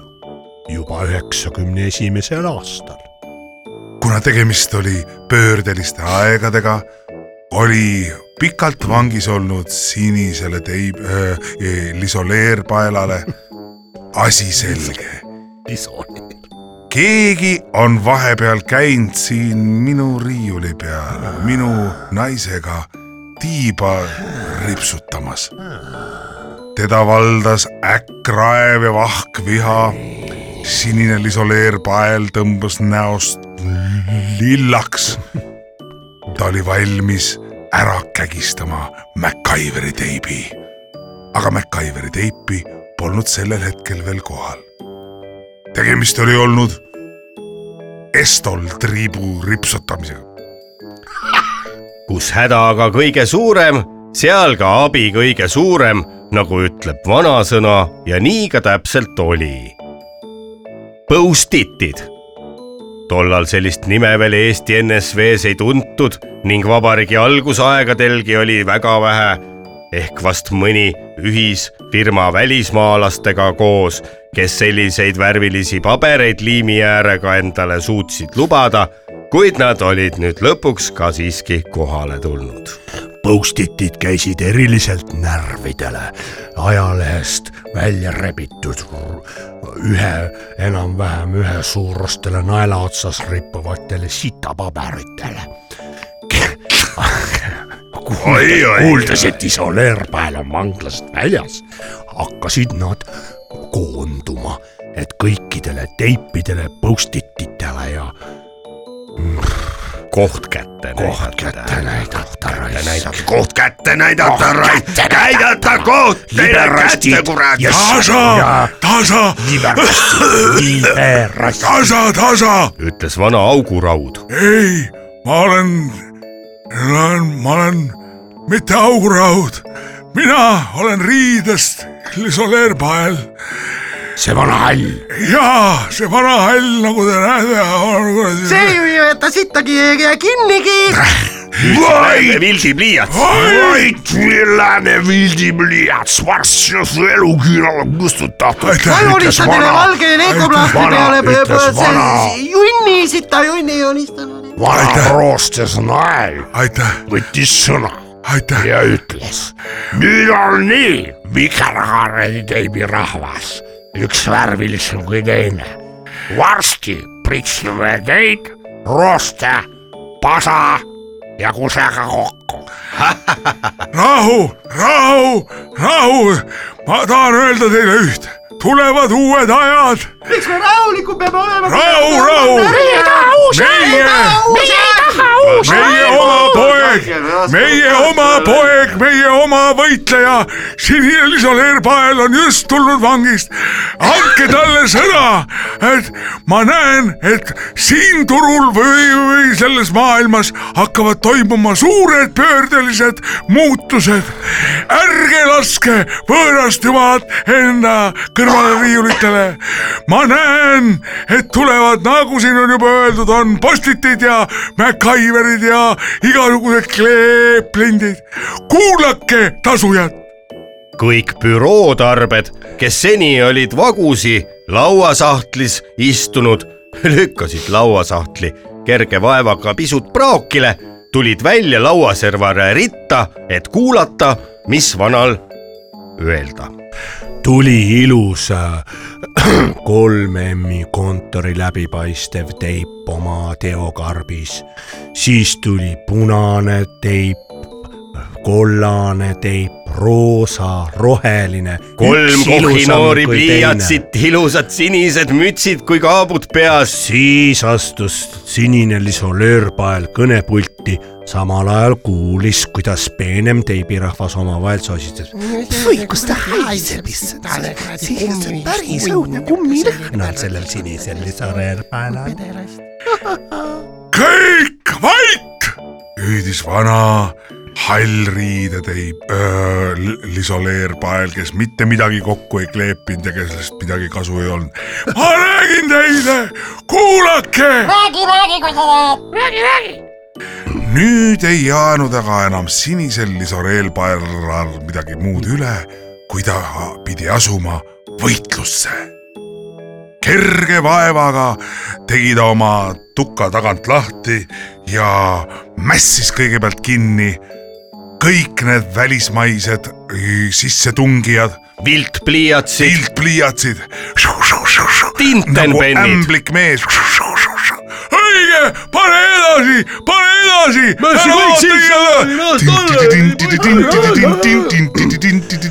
C: juba üheksakümne esimesel aastal .
B: kuna tegemist oli pöördeliste aegadega , oli pikalt vangis olnud sinisele teib- äh, , lisoleerpaelale asi selge . keegi on vahepeal käinud siin minu riiuli peal minu naisega tiiba ripsutamas . teda valdas äkkraev ja vahkviha sinine lisoleerpael tõmbas näost lillaks . ta oli valmis ära kägistama MacGyveri teibi . aga MacGyveri teipi polnud sellel hetkel veel kohal . tegemist oli olnud Estol triibu ripsutamisega .
A: kus häda aga kõige suurem , seal ka abi kõige suurem , nagu ütleb vanasõna ja nii ka täpselt oli . Põustitid . tollal sellist nime veel Eesti NSV-s ei tuntud ning vabariigi algusaegadelgi oli väga vähe ehk vast mõni ühisfirma välismaalastega koos , kes selliseid värvilisi pabereid liimi äärega endale suutsid lubada , kuid nad olid nüüd lõpuks ka siiski kohale tulnud .
C: Post-itid käisid eriliselt närvidele ajalehest välja rebitud r- ühe , enam-vähem ühe suurustele naela otsas rippuvatele sitapaberitele . kuuldes , et isa Leerpäev on vanglast väljas , hakkasid nad koonduma , et kõikidele teipidele , post-ititele ja
A: koht kätte .
C: koht kätte näidata raisk .
A: koht kätte näidata , näidata koht teile kätte , kurat . Ah,
B: tasa , tasa ,
C: liberastid ,
B: tasa , tasa ,
A: ütles vana auguraud .
B: ei , ma olen , ma olen , ma olen mitte auguraud , mina olen riidest lisoleerpael
C: see vana hall ,
B: ja see vana hall , nagu te näete , on kuradi . see ju ei
A: vaid . Vildi pliiats .
C: vait villane vildipliiats , varssus elukülal kustutatud .
B: Ütles
F: teile valge elektroplaati
C: Vana-
F: peale
C: ütles
F: pöö- pöö-
C: vana.
F: see- junni , sita junni joonistanud .
C: vana
B: Aitäh!
C: roostes nael
B: aitäh ,
C: võttis sõna
B: aitäh ,
C: ja ütles . nüüd on nii , vikerkaaredi teimi rahvas , üks värvilisem kui teine . varsti pritsime teid rooste , pasa ja kusega kokku .
B: rahu , rahu , rahu , ma tahan öelda teile üht , tulevad uued ajad ,
F: miks me rahulikud peame olema ?
B: rahu , rahu , meie , meie oma poeg , meie oma poeg , meie oma võitleja , sinine lisalerbael on just tulnud vangist . andke talle sõna , et ma näen , et siin turul või , või selles maailmas hakkavad toimuma suured pöördelised muutused . ärge laske võõrast jumalat enda kõrvaleriiulitele . ma näen , et tulevad , nagu siin on juba öeldud , on postitid ja MacGyverid ja igasugused kleeplindid . kuulake tasujad ,
A: kõik bürootarbed , kes seni olid vagusi lauasahtlis istunud , lükkasid lauasahtli kerge vaevaga pisut praokile , tulid välja lauaservare ritta , et kuulata , mis vanal öelda .
C: tuli ilus äh, kolm M-i kontori läbipaistev teip oma teokarbis , siis tuli punane teip , kollane teip , roosa , roheline .
A: kolm kohinoori pliiatsit , ilusad sinised mütsid kui kaabud peas .
C: siis astus sinine lisolöörpael kõnepulti , samal ajal kuulis , kuidas peenem teibirahvas omavahel sosistas . oi , kus ta haiseb , issand , see on päris õudne kummilõhnal sellel sinisel lisolöörpael on .
B: kõik vait , hüüdis vana hallriide teib öö, lisoleerpael , kes mitte midagi kokku ei kleepinud ja kellest midagi kasu ei olnud . ma räägin teile , kuulake nüüd ei jäänud aga enam sinisel lisoreelpaeral midagi muud üle , kui ta pidi asuma võitlusse . kerge vaevaga tegi ta oma tuka tagant lahti ja mässis kõigepealt kinni kõik need välismaised ü, sissetungijad ,
A: viltpliiatsid ,
B: tildpliiatsid . nagu
A: tintenpennid ,
B: ämblik mees . õige , pane edasi , pane edasi .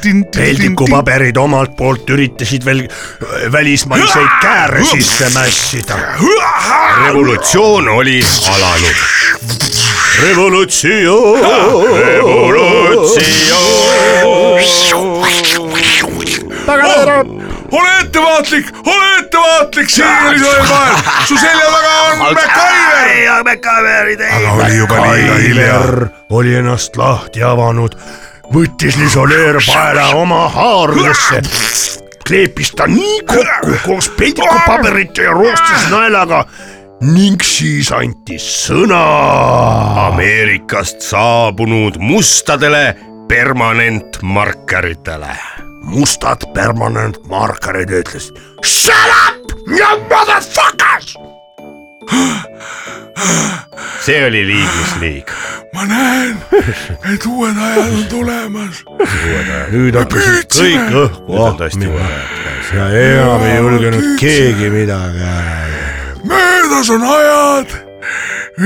C: peldikupaberid omalt poolt üritasid veel äh, välismaiseid kääre sisse mässida .
A: revolutsioon oli alanud .
C: revolutsioon .
B: ole ettevaatlik , ole ettevaatlik , siin oli see vahel , su selja taga on MacGyver . aga oli juba liiga hilja .
C: Kailer oli ennast lahti avanud , võttis lisoleerpaela oma haardesse , kleepis ta nii kokku koos peldikupaberite ja roostes naelaga ning siis andis sõna .
A: Ameerikast saabunud mustadele permanentmarkeritele .
C: mustad permanentmarkerid ütlesid shut up you motherfuckers .
A: see oli liiglusliig .
B: ma näen , et uued ajad on tulemas .
C: nüüd hakkasid kõik õhku
A: nüüd on tõesti
C: ahmima
A: vaja .
C: Ah, ja enam ei julgenud keegi midagi ära .
B: möödas on ajad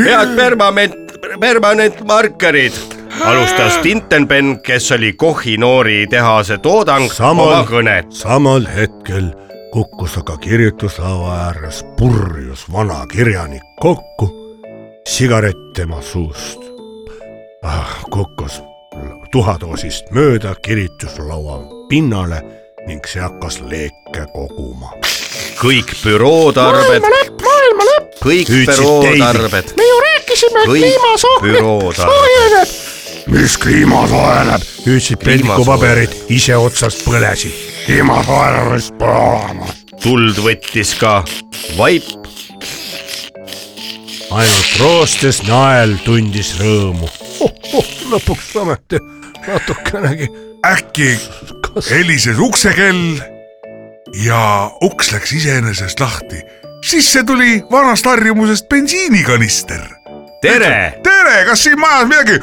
A: head permanent , permanentmarkerid ,
B: Ah.
A: alustas Tintenben , kes oli Kohinoori tehase toodang , oma
C: samal
A: kõnet .
C: samal hetkel kukkus aga kirjutuslaua ääres purjus vana kirjanik kokku , sigaret tema suust ah, . kukkus tuhadoosist mööda kirjutuslaua pinnale ning see hakkas leeke koguma .
A: kõik bürootarved , kõik
C: Hüüdsid
A: bürootarved . me ju rääkisime , et kliima soojeneb .
C: mis kliima soojeneb , hüüdsid
A: Kliima
C: peldikupaberid , ise otsast põlesid . kliima soojenemist pole olemas .
A: tuld võttis ka vaip ,
C: ainult roostes nael tundis rõõmu oh, . Oh, lõpuks ometi natukenegi .
B: äkki helises uksekell ja uks läks iseenesest lahti . sisse tuli vanast harjumusest bensiinikanister .
A: tere ,
B: tere , kas siin majas midagi ?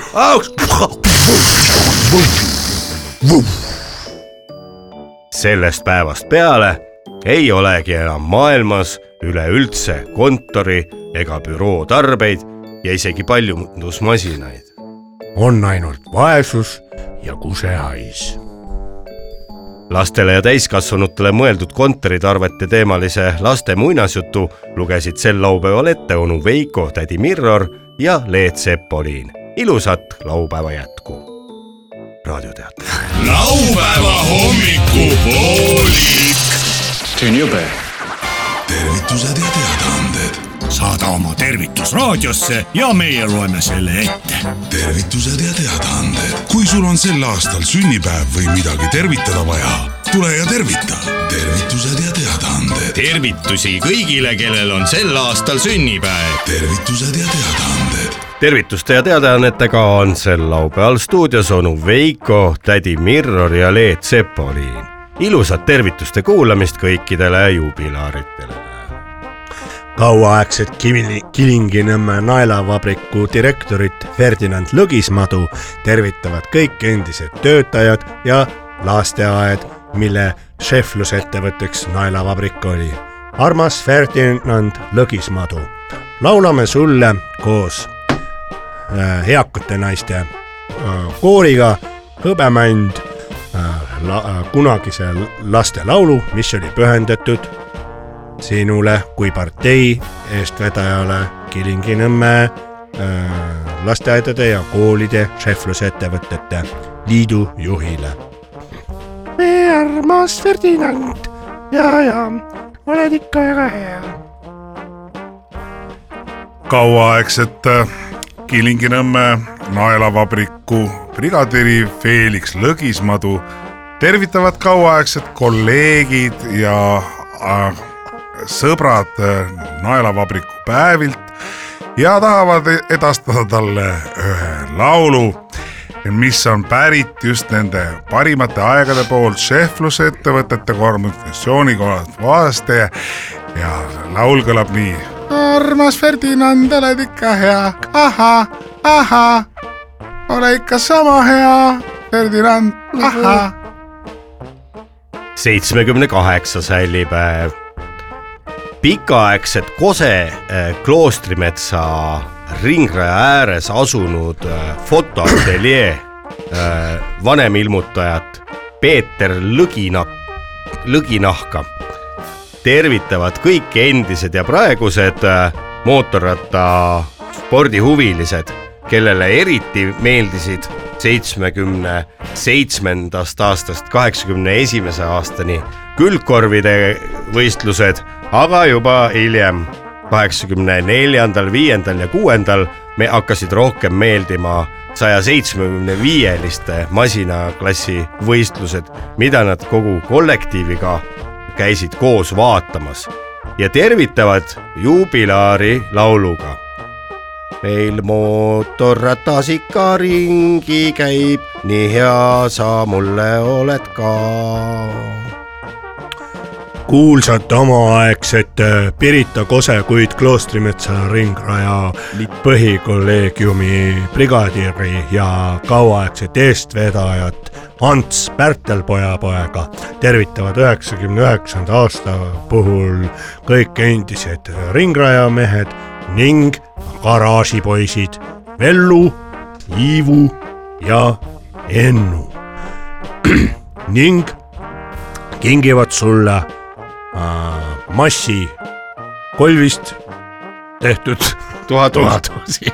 A: sellest päevast peale ei olegi enam maailmas üleüldse kontori ega bürootarbeid ja isegi paljundusmasinaid .
C: on ainult vaesus ja kusehais
A: lastele ja täiskasvanutele mõeldud kontoritarvete teemalise laste muinasjutu lugesid sel laupäeval ette onu Veiko , tädi Mirror ja Leet Sepoliin . ilusat laupäeva jätku . raadioteater .
H: laupäeva hommikupooli .
J: tünübe .
E: tervitused ja teadaanded ,
H: saada oma tervitus raadiosse ja meie loeme selle ette .
E: tervitused ja teadaanded . kui sul on sel aastal sünnipäev või midagi tervitada vaja , tule ja tervita . tervitused ja teadaanded ,
H: tervitusi kõigile , kellel on sel aastal sünnipäev .
E: tervitused ja teadaanded ,
A: tervituste ja teadaannetega on sel laupäeval stuudios onu Veiko , tädi Mirror ja Leet Sepoliin . ilusat tervituste kuulamist kõikidele jubilaaritele .
C: kauaaegset Kivili- Kilingi-Nõmme naelavabriku direktorit Ferdinand Lõgismadu tervitavad kõik endised töötajad ja lasteaed , mille šeflusettevõtteks naelavabrik oli . armas Ferdinand Lõgismadu , laulame sulle koos äh, eakate naiste äh, kooriga hõbemänd äh, la, äh, kunagise lastelaulu , mis oli pühendatud sinule kui partei eestvedajale Kilingi-Nõmme äh, lasteaedade ja koolide šeflusettevõtete liidu juhile . me armas Ferdinand ja , ja oled ikka väga hea .
B: kauaaegset äh, Kilingi-Nõmme naelavabriku brigadiri Felix Lõgismadu tervitavad kauaaegsed kolleegid ja äh, sõbrad äh, naelavabriku päevilt ja tahavad e-, edastada talle ühe laulu , mis on pärit just nende parimate aegade poolt šefluse ettevõtete koordinatsiooniga vaeste ja laul kõlab nii armas Ferdinand , oled ikka hea , ahah , ahah , ole ikka sama hea , Ferdinand , ahah .
A: seitsmekümne kaheksas hällipäev . pikaaegset Kose eh, kloostrimetsa ringraja ääres asunud eh, fotoateljee eh, vanemilmutajat Peeter Lõgina , Lõginahka tervitavad kõik endised ja praegused eh, mootorratta spordihuvilised , kellele eriti meeldisid seitsmekümne seitsmendast aastast kaheksakümne esimese aastani külgkorvide võistlused , aga juba hiljem , kaheksakümne neljandal , viiendal ja kuuendal me hakkasid rohkem meeldima saja seitsmekümne viieliste masinaklassi võistlused , mida nad kogu kollektiiviga käisid koos vaatamas ja tervitavad juubilaari lauluga . meil mootorratas ikka ringi käib , nii hea sa mulle oled ka .
C: kuulsat omaaegset äh, Pirita Kose , kuid Kloostrimetsa ringraja põhikolleegiumi brigadiri ja kauaaegset eestvedajat Ants Pärtelpoja poega tervitavad üheksakümne üheksanda aasta puhul kõik endised ringrajamehed ning garaažipoisid Vellu , Iivu ,
K: ja Ennu ning kingivad sulle äh, massi kolvist tehtud
C: tuhat tuhat .
K: tuhatusi .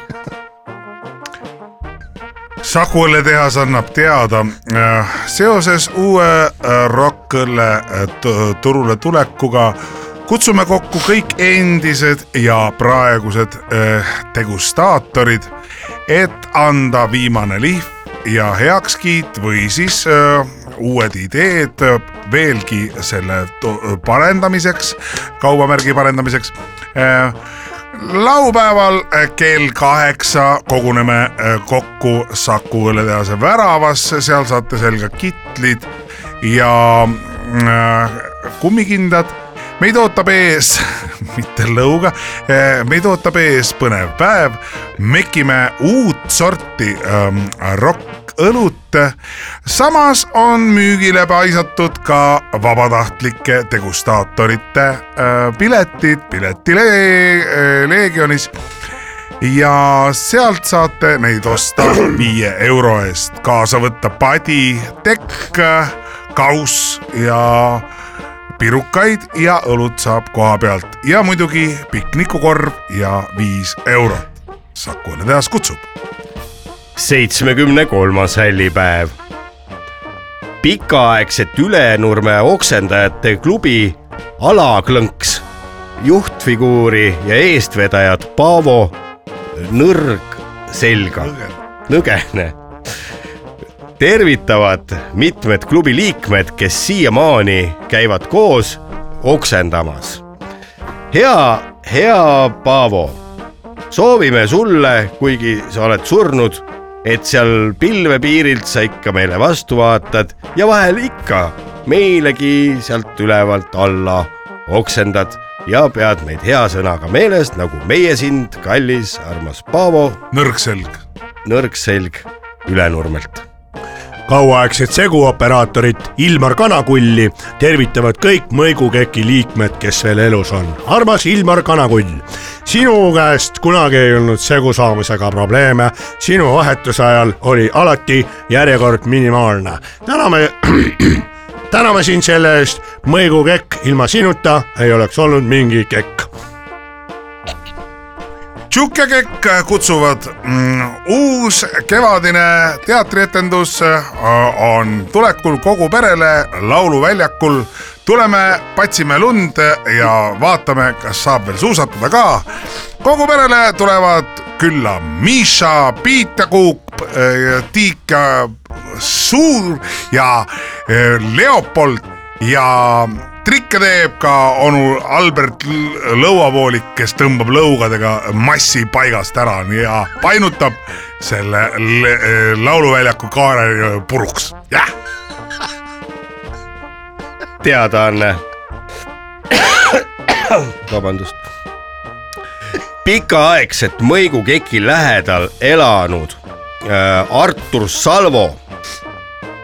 B: Saku õlletehas annab teada äh, seoses uue äh, rokkõlle äh, tu- turule tulekuga kutsume kokku kõik endised ja praegused äh, degustaatorid , et anda viimane lihv ja heakskiit või siis äh, uued ideed äh, veelgi selle to- parendamiseks , kaubamärgi parendamiseks äh, laupäeval äh, kell kaheksa koguneme äh, kokku Saku õlletehase väravasse , seal saate selga kitlid ja äh, kummikindad . meid ootab ees , mitte lõuga , meid ootab ees põnev päev , mekime uut sorti ähm, rokkõlut . samas on müügile paisatud ka vabatahtlike degustaatorite äh, piletid Piletilegionis ja sealt saate neid osta viie euro eest , kaasa võtta padi , tekk , kauss ja pirukaid ja õlut saab koha pealt ja muidugi piknikukorv ja viis eurot . Saku Õlletehas kutsub .
C: seitsmekümne kolmas hällipäev . pikaaegset Ülenurme oksendajate klubi alaklõnks juhtfiguuri ja eestvedajat Paavo nõrg selga , nõgene . tervitavad mitmed klubi liikmed , kes siiamaani käivad koos oksendamas . hea , hea Paavo soovime sulle , kuigi sa oled surnud , et seal pilvepiirilt sa ikka meile vastu vaatad ja vahel ikka meilegi sealt ülevalt alla oksendad ja pead meid hea sõnaga meeles , nagu meie sind , kallis armas Paavo ,
B: nõrk selg .
C: nõrk selg Ülenurmelt .
K: kauaaegset seguoperaatorit Ilmar Kanakulli tervitavad kõik mõigukeki liikmed , kes veel elus on . armas Ilmar Kanakull , sinu käest kunagi ei olnud segu saamisega probleeme , sinu vahetuse ajal oli alati järjekord minimaalne . täname , täname sind selle eest , mõigukekk ilma sinuta ei oleks olnud mingi kekk .
B: Tšuke Kekk äh, kutsuvad mm, uus kevadine teatrietendus äh, on tulekul kogu perele Lauluväljakul . tuleme , patsime lund ja vaatame , kas saab veel suusatada ka . kogu perele tulevad külla Miša , Piit ja Kuup , Tiik ja Suur ja äh, Leopold ja trikke teeb ka onu Albert L- Lõuavoolik , kes tõmbab lõugadega massi paigast ära ja painutab selle le- lauluväljaku kaare puruks . jah ,
C: teadaanne . vabandust . pikaaegselt mõigukeki lähedal elanud äh, Artur Salvo ,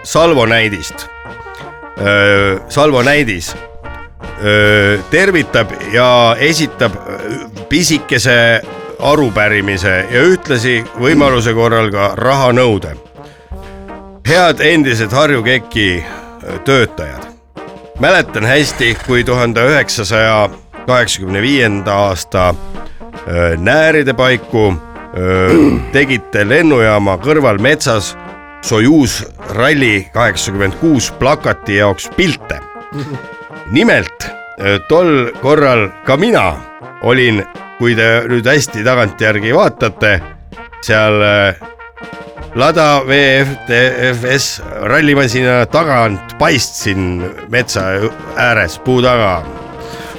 C: Salvo näidist äh, , Salvo näidis äh, tervitab ja esitab äh, pisikese arupärimise ja ühtlasi võimaluse korral ka rahanõude . head endised Harju KEK-i äh, töötajad , mäletan hästi , kui tuhande üheksasaja kaheksakümne viienda aasta öö, nääride paiku öö, tegite lennujaama kõrval metsas Sojuus ralli kaheksakümmend kuus plakati jaoks pilte . nimelt öö, tol korral ka mina olin , kui te nüüd hästi tagantjärgi vaatate , seal öö, Lada VFTFS rallimasina tagant paistsin metsa ääres puu taga .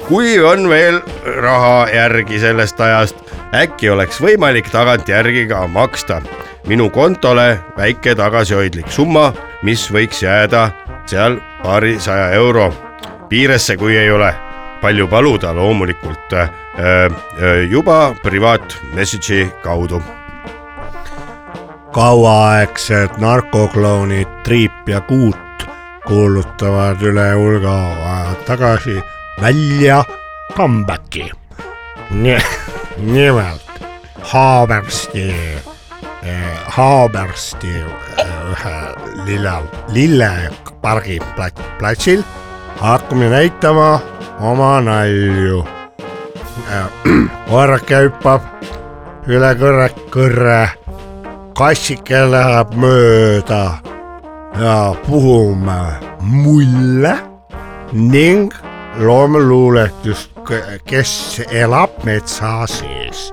C: kui on veel raha järgi sellest ajast , äkki oleks võimalik tagantjärgi ka maksta minu kontole väike tagasihoidlik summa , mis võiks jääda seal paarisaja euro piiresse , kui ei ole palju paluda loomulikult äh, äh, juba privaat message'i kaudu
K: kauaaegsed narkokloonid Triip ja Kuut kuulutavad üle hulga aja tagasi välja comeback'i . nimelt Haabersti
C: eh, Haabersti äh, ühe lille , lillepargi plat- platsil hakkame näitama oma nalju . Eh, oerake hüppab üle kõrre , kõrre , kassike läheb mööda ja puhume mulle ning loome luuletust , kes elab metsa sees .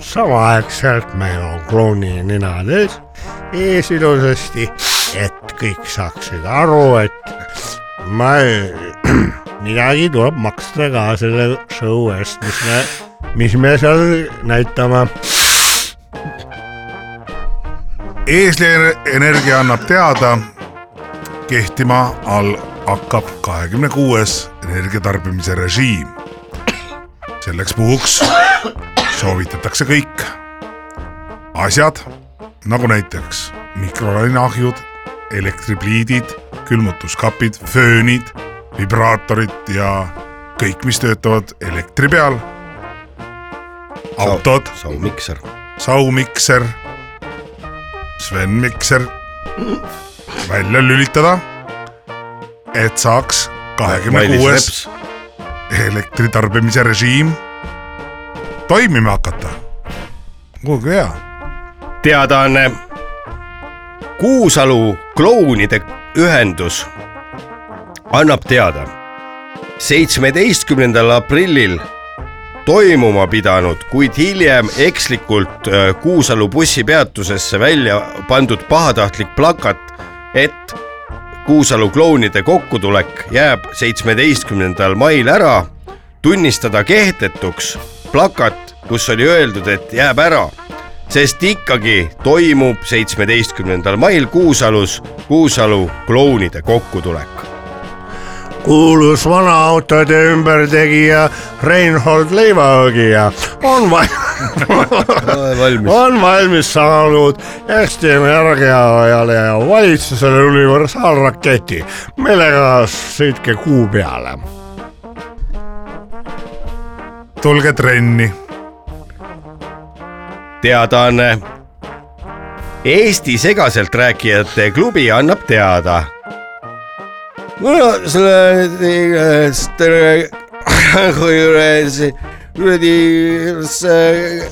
C: samaaegselt meil on klouni ninad ees , ees ilusasti , et kõik saaksid aru , et ma , midagi tuleb maksta ka selle show eest , mis me , mis me seal näitame .
B: eesleerienergia annab teada , kehtima all hakkab kahekümne kuues energiatarbimise režiim . selleks puhuks soovitatakse kõik asjad nagu näiteks mikrolaineahjud , elektripliidid , külmutuskapid , föönid , vibraatorid ja kõik , mis töötavad elektri peal . autod ,
A: saumikser .
B: saumikser , Sven Mikser välja lülitada , et saaks kahekümne kuues elektritarbimise režiim toimima hakata . kuulge hea ,
A: teadaanne . Kuusalu klounide ühendus annab teada . seitsmeteistkümnendal aprillil toimuma pidanud , kuid hiljem ekslikult äh, Kuusalu bussipeatusesse välja pandud pahatahtlik plakat , et Kuusalu klounide kokkutulek jääb seitsmeteistkümnendal mail ära , tunnistada kehtetuks plakat , kus oli öeldud , et jääb ära , sest ikkagi toimub seitsmeteistkümnendal mail Kuusalus Kuusalu klounide kokkutulek .
C: kuulus vanaautode ümbertegija Reinhold Leivaõgija on vaja
A: valmis .
C: on valmis saanud Eesti Energiale ja valitsusele universaalraketi , millega sõitke kuu peale .
B: tulge trenni ,
A: teadaanne . Eesti segaselt rääkijate klubi annab teada . no selle eh, stere- juures kuradi see ,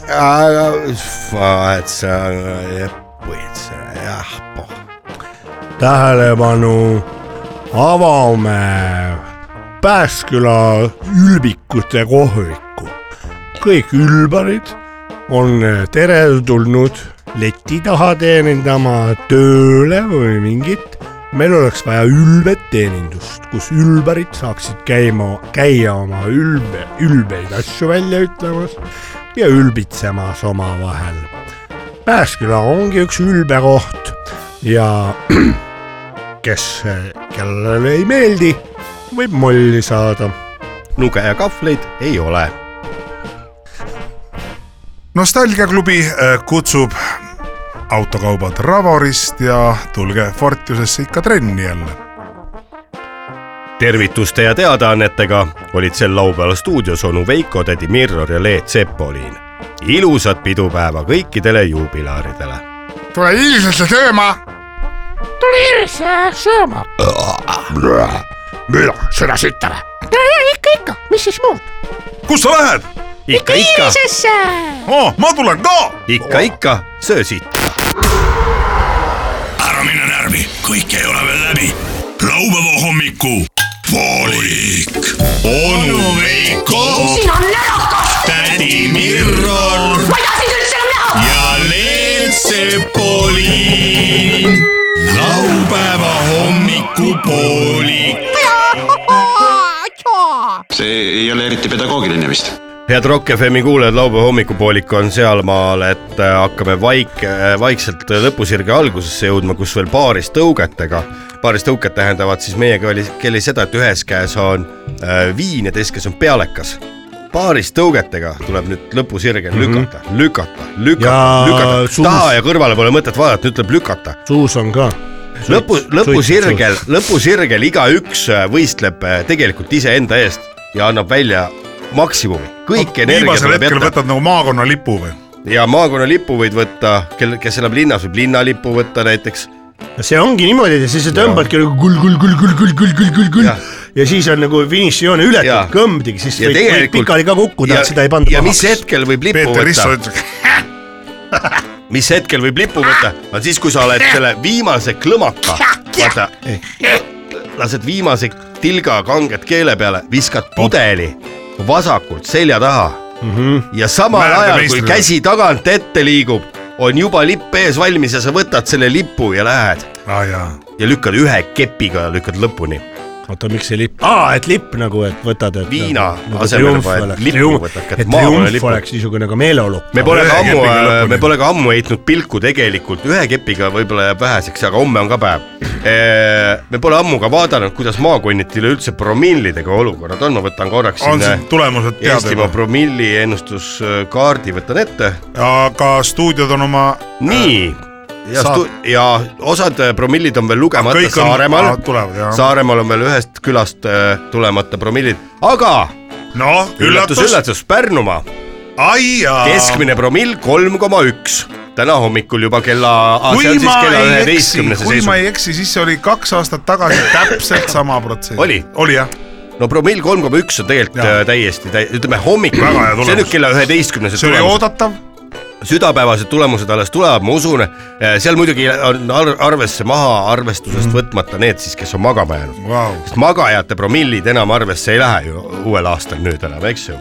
A: vahet seal , jah , poh .
C: tähelepanu , avame Pääsküla ülbikute kohviku . kõik ülbarid on teretulnud leti taha teenindama tööle või mingit . meil oleks vaja ülbet teenindust , kus ülbarid saaksid käima , käia oma ülbe , ülbeid asju välja ütlemas ja ülbitsemas omavahel . Pääsküla ongi üks ülbekoht ja kes , kellele ei meeldi , võib molli saada .
A: nugeja kahvleid ei ole .
B: nostalgiaklubi äh, kutsub autokaubad Ravorist ja tulge Fortiusesse ikka trenni jälle .
A: tervituste ja teadaannetega olid sel laupäeval stuudios onu Veiko , tädi Mirror ja Leet Sepolin . ilusat pidupäeva kõikidele juubilaaridele
I: tule ilmselt sööma .
B: kus sa lähed ?
A: ikka , ikka ,
B: aa , Oh, ma tulen ka
A: ikka , ikka , söö siit .
D: ära mine närvi , kõik ei ole veel läbi . laupäeva hommiku poolik . onu Veiko ,
L: sina närakas ,
D: tädi Mirror
L: ma ei taha sind üldse enam näha .
D: ja Leet Sepolin . laupäeva hommikupoolik .
J: see ei ole eriti pedagoogiline vist .
A: head Rock FM-i kuulajad , laupäeva hommikupoolik on sealmaal , et äh, hakkame vaik- , vaikselt lõpusirge algusesse jõudma , kus veel paaris tõugetega . paaris tõuket tähendavad siis meie keeli , keeli seda , et ühes käes on äh, viin ja teises käes on pealekas . paaris tõugetega tuleb nüüd lõpusirgel lükata mm , -hmm. lükata , lükata
C: Mhm. Ja ,
A: lükata ,
C: suus-
A: taha ja kõrvale pole mõtet vaadata , nüüd tuleb lükata .
C: suus on ka .
A: lõpu , lõpusirgel , lõpusirgel igaüks võistleb äh, tegelikult iseenda eest ja annab välja maksimumi , kõik energia
B: viimasel
A: tuleb
B: hetkel
A: jätta .
B: võtad nagu maakonnalipu või ?
A: ja maakonnalipu võid võtta , kel , kes elab linnas , võib linnalipu võtta näiteks .
C: see ongi niimoodi , et siis sa tõmbadki nagu kull , kull , kull , kull , kull , kull , kull , kull , kull ja. ja siis on nagu finišijoone
A: Jaa.
C: ületatud , kõmbdigi , siis
A: Ja
C: võid, võid
A: tegelikult-
C: pikali ka kukkuda , et seda ei panda
A: ja mis hetkel võib lipu
B: Peeter Risso
A: võtta ,
B: ütleb ,
A: mis hetkel võib lipu võtta , on siis , kui sa oled selle viimase klõmaka , vaata , lased viimase tilga kanged keele peale , viskad pudeli vasakult selja taha mm
C: Mhm.
A: -hmm. ja samal
B: Määrde
A: ajal , kui
B: meistrile.
A: käsi tagant ette liigub , on juba lipp ees valmis ja sa võtad selle lipu ja lähed
B: aa jaa ,
A: ja lükkad ühe kepiga , lükkad lõpuni .
C: oota , miks see lipp , aa , et lipp nagu , et võtad , et
A: Viina
C: nagu,
A: asemele
C: triumf
A: paned
C: oleks.
A: lipu,
C: Triumf-
A: võtad kätte
C: et
A: maakonna
C: triumf
A: lipu.
C: oleks niisugune nagu meeleolu .
A: me pole
B: ühe
A: ka ammu äh,
B: kepiga , lõpuni.
A: me pole ka ammu heitnud pilku tegelikult , ühe kepiga võib-olla jääb väheseks , aga homme on ka päev . me pole ammu ka vaadanud , kuidas maakonniti üleüldse promillidega olukorrad on , ma võtan korraks
B: on
A: siin
B: siin tulemused teada
A: Eestimaa
B: juba .
A: promilli ennustuskaardi võtan ette .
B: Äh, aga stuudiod on oma ,
A: nii . ja
B: Saab.
A: stu- , ja osad äh, promillid on veel lugemata
B: kõik on-
A: Saaremaal
B: aa, tulevad, jah.
A: Saaremaal on veel ühest külast äh, tulemata promillid , aga
B: noh ,
A: üllatus ,
B: üllatus ,
A: üllatus , Pärnumaa
B: ai jaa .
A: keskmine promill kolm koma üks , täna hommikul juba kella , see
B: kui
A: on
B: ma
A: siis kella
B: ei eksi ,
A: üheteistkümnese
B: kui ma
A: seisuga .
B: ei eksi , siis see oli kaks aastat tagasi täpselt sama protsent .
A: Oli?
B: oli jah ,
A: no promill kolm koma üks on tegelikult
B: Jaa.
A: äh, täiesti , ütleme hommikul
B: Väga hea ,
A: see on
B: tulemus.
A: nüüd kella üheteistkümnese
B: see oli
A: tulemus ,
B: oodatav ,
A: südapäevased tulemused alles tulevad , ma usun , seal muidugi on ar- arvesse maha arvestusest
C: Mm.
A: võtmata need siis , kes on magama jäänud .
B: vau .
A: sest magajate promillid enam arvesse ei lähe ju uuel aastal nüüd enam , eks ju .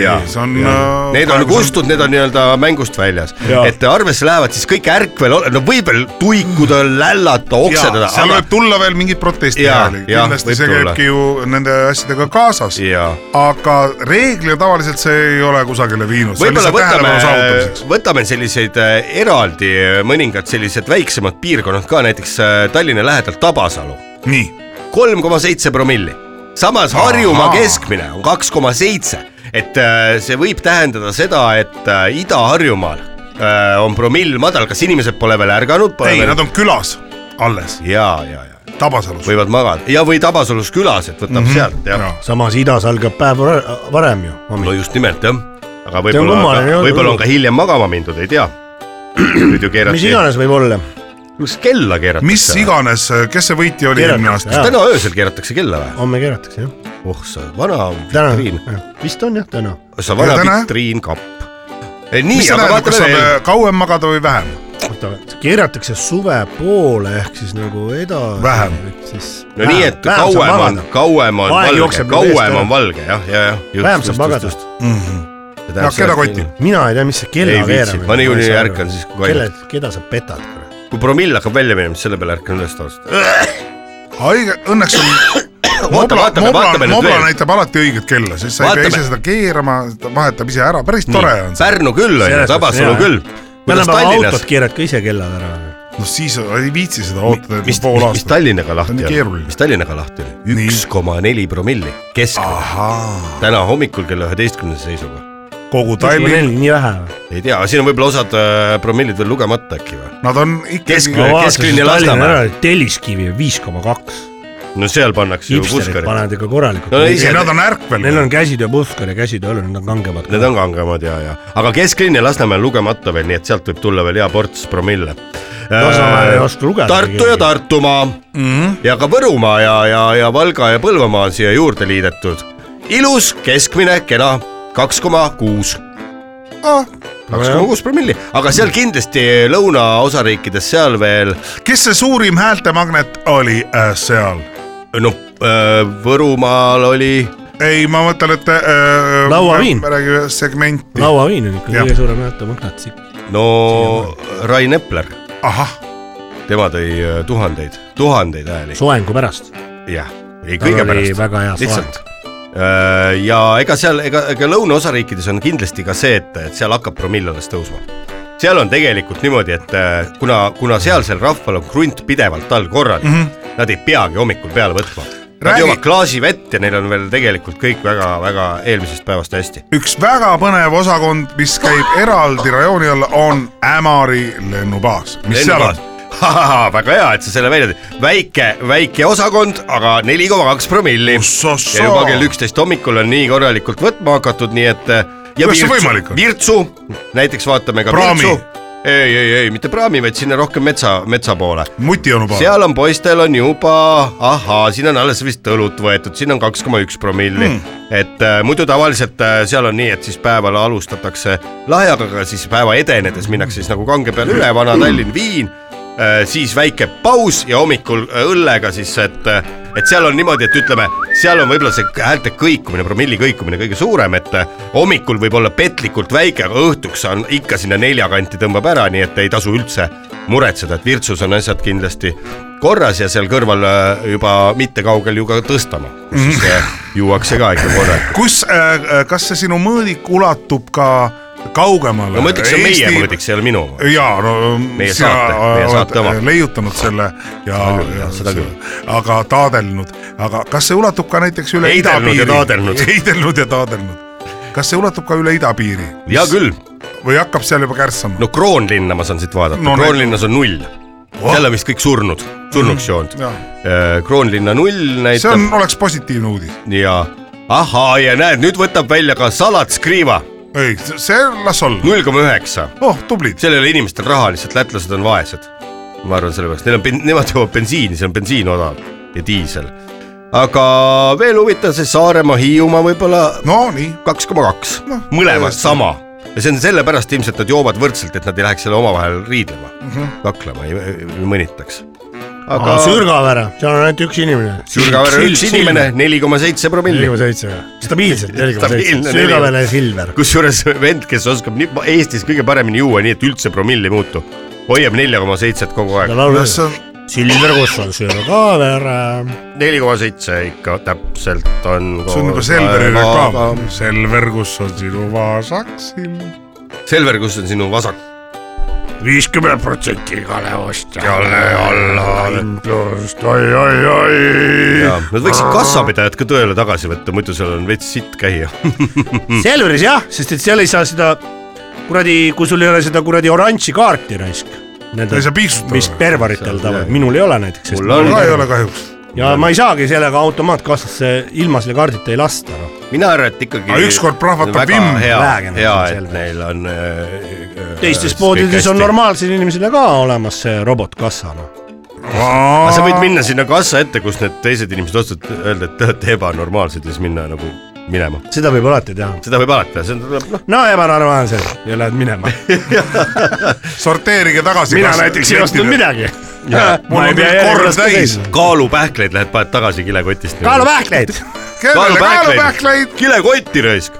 A: Jaa.
B: see on . äh,
A: Need on . nagu kustunud , need on nii-öelda mängust väljas ,
C: Jaa.
A: et arvesse lähevad siis kõik ärkvel , no võib veel tuikuda ,
C: Mm.
A: lällata , oksedada ,
B: seal võib tulla veel mingeid proteste
A: Jaa,
B: hääli ,
A: jah,
B: kindlasti
A: võib
B: see
A: tulla.
B: käibki ju nende asjadega kaasas
A: Jaa. .
B: aga reeglina tavaliselt see ei ole kusagile viinud , see on
A: võib-olla
B: lihtsalt
A: võtame
B: tähelepanu saavutamiseks .,
A: võtame selliseid äh, eraldi äh, mõningad sellised väiksemad piirkonnad ka , näiteks äh, Tallinna lähedal Tabasalu ,
B: nii ,
A: kolm koma seitse promilli . samas Harjumaa
B: Ahaa.
A: keskmine on kaks koma seitse , et äh, see võib tähendada seda , et äh, Ida-Harjumaal äh, on promill madal , kas inimesed pole veel ärganud , pole
B: ei ,
A: veel
B: nad on külas alles ,
A: ja , ja , ja
B: Tabasalus .
A: võivad magada ja , või Tabasalus külas , et võtab mm -hmm. sealt jah
B: Jaa.
C: samas idas algab päev vara- varem ju ,
A: no
C: hommikul .
A: just nimelt jah , aga
C: See on kummaline,
A: võib-olla ,
C: jah,
A: võib-olla
C: jah.
A: on ka hiljem magama mindud , ei tea . nüüd ju
C: mis
A: keerati
C: iganes võib olla .
A: kas kella keeratakse ?
B: mis ? iganes , kes see võitja oli
C: Keeratakse,
B: eelmine aasta
C: jah. ?
A: täna öösel keeratakse kella või ?
C: homme keeratakse jah .
A: oh sa vana vitriin ,
C: täna , vist on jah , täna .
A: sa vana
B: Ja täna, jah.
A: vitriinkapp . nii
B: mis , see
A: aga
B: tähendab , kas
A: vaatame
B: saab
A: veel .
B: äh, kauem magada või vähem ?
C: oota , keeratakse suve poole ehk siis nagu edasi .
B: Vähem. .
A: no nii , et kauem on , kauem on
C: Aeg
A: valge
C: jookseb , nüüd eest
A: kauem
C: ära.
A: on valge jah , Mhm. ja , ja .
C: vähem saab magada ..
B: jah , kellakotti .
C: mina ei tea , mis see
A: Ei
C: kella
A: viitsi,
C: veerem .
A: ma niikuinii ärkan siis, kui
C: kelle , keda sa petad ?
A: kui promill hakkab välja minema , siis selle peale ärkan üles taustast .
B: haige , õnneks on
A: oota ,
B: Mobla-
A: vaatame ,
B: Mobla-
A: vaatame nüüd
B: Mobla
A: veel .
B: näitab alati õiget kella , siis sa ei
A: Vaatame.
B: pea ise seda keerama , ta vahetab ise ära , päris tore on see .
A: Pärnu küll on ju ,
C: Selles mõttes
A: Tabasalu
C: hea,
A: küll . kuidas
C: tänapäeva
A: Tallinnas
C: autod , keerad ka ise kellad ära .
B: noh , siis ei viitsi seda ootada ,
A: mis
B: et , pool
A: mis
B: aastat .
A: Tallinnaga
B: See on
A: lahti
B: nii
A: on
B: keeruline. ,
A: mis Tallinnaga lahti on ?
B: Nii.
A: üks koma neli promilli , keskmine ,
B: ahaa ,
A: täna hommikul kella üheteistkümnese seisuga .
B: kogu Tallinn ,
C: nii vähe või ?
A: ei tea , siin on võib-olla osad äh, promillid veel lugemata äkki või ?
B: nad on ikkagi
A: Keskmine.
B: no, ,
A: kesklinna Lasnamäe.
C: telliskivi viis koma kaks ,
A: no seal pannakse ju
C: hipsterid
A: puskarid .
C: panevad ikka korralikult
A: No
C: no, .
A: ise-
B: ei nad on ärkvel .
C: Neil on käsitöö puskar ja käsitöö õlul , need on kangemad .
A: Need on kangemad ja , ja , aga kesklinn ja Lasnamäe on lugemata veel , nii et sealt võib tulla veel hea ports promille .
C: Äh,
G: Äh,
C: Lasnamäel ei oska lugeda
A: Tartu
C: keegi.
A: ja Tartumaa mm -hmm. ja ka Võrumaa ja , ja , ja Valga ja Põlvamaa on siia juurde liidetud . ilus , keskmine , kena , kaks koma kuus . kaks koma kuus promilli , aga seal kindlasti lõunaosariikides seal veel
B: kes see suurim häältemagnet oli äh, seal ?
A: no äh, Võrumaal oli
B: ei , ma mõtlen , et äh,
C: Lauaviin.
B: me räägime segmenti .
C: lauaviin on ikka
B: Jah.
C: kõige suurem näitemõõt .
A: no Rain Epler ,
B: ahah ,
A: tema tõi äh, tuhandeid , tuhandeid hääli ,
C: soengu pärast .
A: jah , ei
C: tal
A: kõige
C: oli
A: pärast ,
C: väga hea soeng
A: lihtsalt . ja ega seal , ega , ega lõunaosariikides on kindlasti ka see , et , et seal hakkab promill alles tõusma . seal on tegelikult niimoodi , et äh, kuna , kuna sealsel rahval on krunt pidevalt all korral mm , -hmm. nad ei peagi hommikul peale võtma . Nad
B: Räägi-
A: joovad klaasi vett ja neil on veel tegelikult kõik väga-väga eelmisest päevast hästi .
B: üks väga põnev osakond , mis käib eraldi rajooni alla , on Ämari lennubaas , mis seal on .
A: väga hea , et sa selle välja tõid , väike , väike osakond , aga neli koma kaks promilli . ja juba kell üksteist hommikul on nii korralikult võtma hakatud , nii et eh,
B: Kuidas see võimalik on?
G: äh, Virtsu , näiteks vaatame ka
B: Praami.
G: Virtsu . ei , ei , ei mitte praami , vaid sinna rohkem metsa , metsa poole .
B: muti onu paar .
G: seal on poistel on juba , ahaa , siin on alles vist õlut võetud , siin on kaks koma üks promilli
C: Hmm.
G: mm. . et äh, muidu tavaliselt äh, seal on nii , et siis päeval alustatakse lahjaga , aga siis päeva edenedes minnakse siis nagu kange peale üle , vana Tallinn , viin äh, , siis väike paus ja hommikul äh, õllega siis , et , et seal on niimoodi , et ütleme , seal on võib-olla see häälte kõikumine , promilli kõikumine kõige suurem , et äh, hommikul võib olla petlikult väike , aga õhtuks on ikka sinna nelja kanti tõmbab ära , nii et ei tasu üldse muretseda , et Virtsus on asjad kindlasti korras ja seal kõrval äh, juba mitte kaugel ju ka Tõstamaa , kus siis äh, juuakse ka ikka korralikult .
B: kus äh, , kas see sinu mõõdik ulatub ka kaugemale ?
G: no ma ütleks , see on meie mõõdik , see ei ole minu oma .
B: jaa , no
G: Meie saate- meie saate oma.
B: leiutanud selle ja
G: Seda küll, , jah, seda küll.
B: aga taadelnud , aga kas see ulatub ka näiteks üle
G: Heidelnud ja
B: idapiiri ?
G: taadelnud.
B: heidelnud ja taadelnud . kas see ulatub ka üle idapiiri
G: hea küll ,
B: või hakkab seal juba kärssama ?
G: no Kroonlinna ma saan siit vaadata
B: No
G: no, ,
B: näed.
G: Kroonlinnas on null oh. . seal on vist kõik surnud , surnuks joonud
B: Jah. .
G: Äh, Kroonlinna null
B: see
G: näitab
B: on
G: on... ,
B: oleks positiivne uudis .
G: ja ahaa , ja näed , nüüd võtab välja ka Salat Skriva ,
B: ei , see las olla .
G: null koma üheksa .
B: oh , tublid .
G: seal ei ole inimestel raha , lihtsalt lätlased on vaesed . ma arvan , sellepärast , neil on , nemad joovad bensiini , seal on bensiin odav ja diisel . aga veel huvitav , see Saaremaa , Hiiumaa võib-olla
B: no nii ,
G: kaks koma kaks
B: Noh, ,
G: mõlemad
B: tõesti.
G: sama . ja see on sellepärast ilmselt nad joovad võrdselt , et nad ei läheks selle omavahel riidlema mm , -hmm.
B: Mhm.
G: kaklema , ei mõnitaks . aga
C: Sürgavere , seal on ainult üks inimene .
G: Sürgavere üks inimene , neli koma seitse
C: neli
G: promilli
C: koma . seitse , stabiilselt neli koma
G: Stabiilne
C: seitse ,
G: neli-
C: Sürgavere Silver .
G: kusjuures vend , kes oskab nii, Eestis kõige paremini juua , nii et üldse promilli ei muutu , hoiab nelja koma seitset kogu aeg
C: ta . laulab
B: kas , see on ,
C: Silver , kus on Sürgavere .
G: neli koma seitse ikka täpselt on .
B: see on juba Selveri reklaam . Selver , kus on sinu vasak silm ?
G: Selver , kus on sinu vasak ?
C: viiskümmend protsenti igale ostja .
G: Jälle alla.
C: hindlust , oi , oi , oi .
G: Nad võiksid kassapidajad ka tööle tagasi võtta , muidu seal on veits sitt käia . Mm.
C: Selveris jah , sest et seal ei saa seda kuradi , kui sul ei ole seda kuradi oranži kaarti raisk .
B: Ta ei saa piiksutada.
C: mis pervaritel tavaliselt , minul ei ole näiteks .
G: Mul on.
B: ka ei ole kahjuks .
C: ja ma ei saagi sellega automaatkaassasse ilma selle kaardita ei lasta noh. no. .
G: mina arvan , et ikkagi .
B: Aga ükskord prahvatab vimm.
G: hea
C: Läägem, ,
G: hea ,
C: see on
G: et
C: selge.
G: neil on äh, .
C: teistes poodides on . normaalsel inimesel ka olemas see noh. robotkassa no. .
G: aga sa võid minna sinna kassa ette , kus need teised inimesed otsustavad , öelda , et te olete ebanormaalsed ja siis minna nagu minema .
C: seda võib alati teha .
G: seda võib alati teha , see on , noh ,
C: no ebanormaalsed ja lähed minema .
B: sorteerige tagasi .
C: mina näiteks ei ostnud . midagi .
B: mul on veel kord täis .
C: Mm.
G: kaalupähkleid lähed , paned tagasi kilekotist .
C: kaalupähkleid .
B: kellele kaalupähkleid ?
G: kilekotti raisk .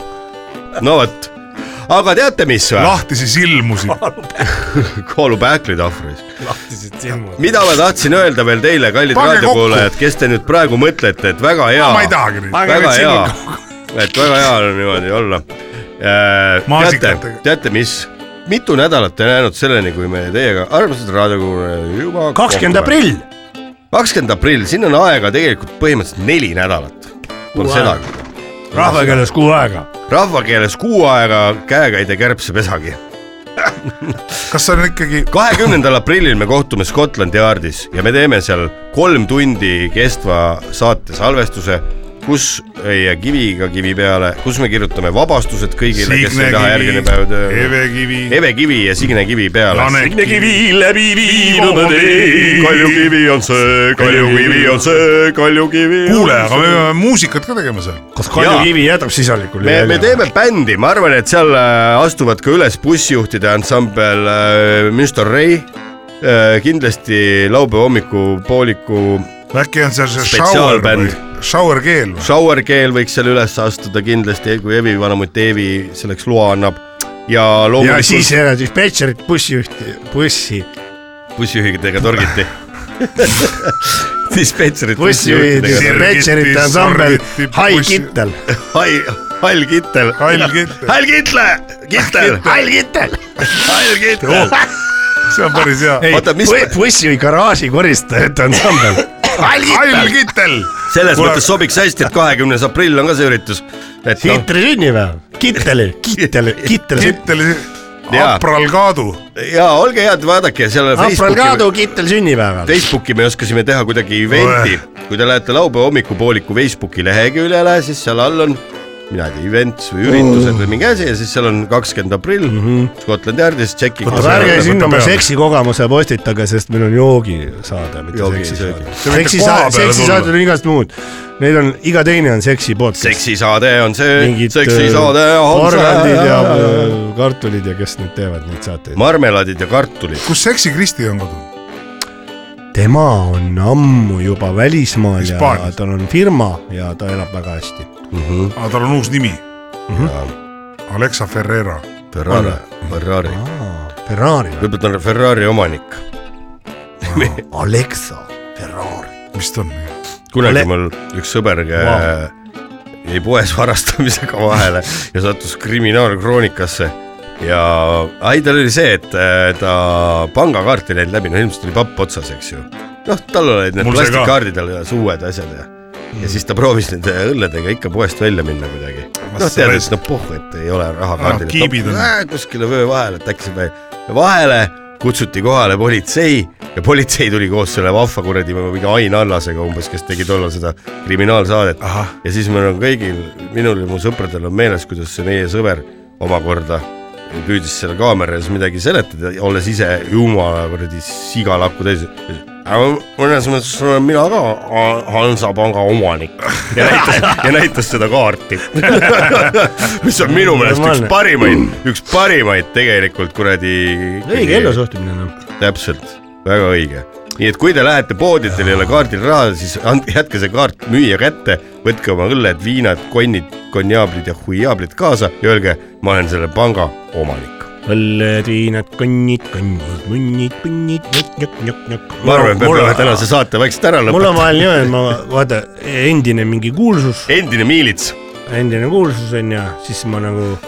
G: no vot , aga teate , mis või ?
B: lahti siis ilmusid .
G: kaalupähkleid ahvris .
C: lahtised silmad .
G: mida ma tahtsin öelda veel teile , kallid
B: Pange
G: raadiokuulajad , kes te nüüd praegu mõtlete , et väga hea .
B: ma ei tahagi neid .
C: Pange
G: väga
C: need
G: hea
C: silmad ,
G: et väga hea on niimoodi olla . teate
B: Maasikatega. ,
G: teate mis , mitu nädalat ei näinud selleni , kui me teiega , armsad raadiokuulajad , juba .
C: kakskümmend . aprill .
G: kakskümmend aprill , siin on aega tegelikult põhimõtteliselt neli nädalat . on
C: Kuu
G: seda ,
C: rahvakeeles kuu aega .
G: rahvakeeles kuu aega käekäide kärbsepesagi .
B: kas see on ikkagi ,
G: kahekümnendal aprillil me kohtume Scotland Yardis ja me teeme seal kolm tundi kestva saate salvestuse , kus ja kiviga kivi peale , kus me kirjutame vabastused kõigile , kes
B: Signe
G: ei taha järgmine päev
B: Kivi , E-
G: tööle .
B: Eve Kivi ,
G: Eve Kivi ja Signe Kivi peale .
B: Lane Kivi ,
G: läbi
B: viinud teid.
G: kaljukivi on see , kaljukivi on see , kaljukivi .
B: kuule , aga me peame muusikat ka tegema seal .
C: kas Kalju Kivi jätab sisalikul
G: me , me ? teeme bändi , ma arvan , et seal äh, astuvad ka üles bussijuhtide ansambel äh, Münster Rey , kindlasti laupäeva hommikupooliku
B: äkki on seal see shower
G: Spetsiaalbänd. ,
B: shower keel või ?
G: Shower Keel võiks seal üles astuda kindlasti , kui Evi vanamutt Eevi selleks loa annab ja
C: ja
G: loomulikult
C: siis äh, dispetšerit , bussijuhti , bussi ,
G: bussijuhidega torgiti . dispetšerid .
C: bussijuhid , dispetšerite
B: Sirgiti,
C: ansambel
B: sorgiti, ,
C: Hai
B: bussi-
C: Kittel .
G: hall , hall kittel .
B: Hall kittel.
G: hall kitle , kitel , hall kittel , hall kittel .
B: see on päris hea .
G: Oota, mis-
C: bussijuhi garaaži koristajate ansambel .
B: Hall Kittel ,
G: selles
B: Kuule-
G: mõttes sobiks hästi , et kahekümnes aprill on ka see üritus . et noh ,
C: Hitleri sünnipäev , Kitteli , Kitteli , Kitteli .
B: Kitteli ,
G: Jaa.
B: Apral Kaadu .
G: ja noh, olge head , vaadake seal
C: Apral Kaadu
G: Facebooki ,
C: Kittel sünnipäeval .
G: Facebooki me oskasime teha kuidagi event'i , kui te lähete laupäeva hommikupooliku Facebooki leheküljele , siis seal all on mina ei tea , events või üritused või mingi asi ja siis seal on kakskümmend aprill mm
C: Mhm.
G: -hmm. Scotland Yardis , tšeki .
C: ärge sinna oma seksikogemuse postitage , sest meil on joogisaade , mitte
G: Joogi-
C: seksisaade
G: söögi. .
B: võite koha
C: seksisaade ,
B: peale
C: seksisaated
B: tulla.
C: on igast muud . Neil on , iga teine on seksi podcast .
G: seksisaade on see ,
C: mingid
G: seksisaade
C: äh,
G: on
C: porgandid ja
G: see .
C: äh, kartulid ja kes need teevad neid saateid .
G: marmelaadid ja kartulid .
B: kus Seksi Kristi on kadunud ?
C: tema on ammu juba välismaal ja
B: Hispaanias.
C: tal on firma ja ta elab väga hästi .
B: aga Ah, tal on uus nimi . Alexa Ferreira .
G: Ferrari , Ferrari ,
C: Ferrari või ?
G: võib-olla ta on Ferrari omanik .
C: Alexa Ferrari .
B: mis ta on ?
G: kunagi
C: Ale-
G: mul üks sõber äh, jäi poes varastamisega vahele ja sattus kriminaalkroonikasse ja ai , tal oli see , et äh, ta pangakaart ei läinud läbi , no ilmselt oli papp otsas , eks ju . noh , tal olid need
B: Mul sai ka.
G: plastikkaardid all ühes uued asjad ja ja siis ta proovis nende õlledega ikka poest välja minna kuidagi . noh ,
B: sa
G: tead , et
B: raisk-
G: noh , puh , et ei ole raha kaardil
B: Ah, kiibid on.
G: kuskile vöö vahele , et äkki saab vahele , kutsuti kohale politsei ja politsei tuli koos selle vahva kuradi mingi Ain Allasega umbes , kes tegi tollal seda kriminaalsaadet . ja siis meil on kõigil , minul ja mu sõpradel on meeles , kuidas see meie sõber omakorda püüdis selle kaamera ees midagi seletada , olles ise jumala kuradi sigalakku täis . aga mõnes mõttes olen mina ka Ha- Hansapanga omanik ja näitas , ja näitas seda kaarti , mis on minu meelest üks
C: Normaalne.
G: parimaid , üks parimaid tegelikult kuradi .
C: õige ellusuhtumine noh .
G: täpselt , väga õige . nii et kui te lähete poodi , teil ei ole kaardil raha , siis andke , jätke see kaart müüja kätte , võtke oma õlled , viinad , konnid , konjaablid ja huijaablid kaasa ja öelge , ma olen selle panga omanik .
C: õlled , viinad , konnid , konnid , munnid , punnid , njokk-njokk-njokk .
G: ma arvan , et me peame tänase saate vaikselt ära
C: mul on
G: lõpetama .
C: vahel nii , et ma vaata endine mingi kuulsus ,
G: endine miilits ,
C: endine kuulsus on ja siis ma nagu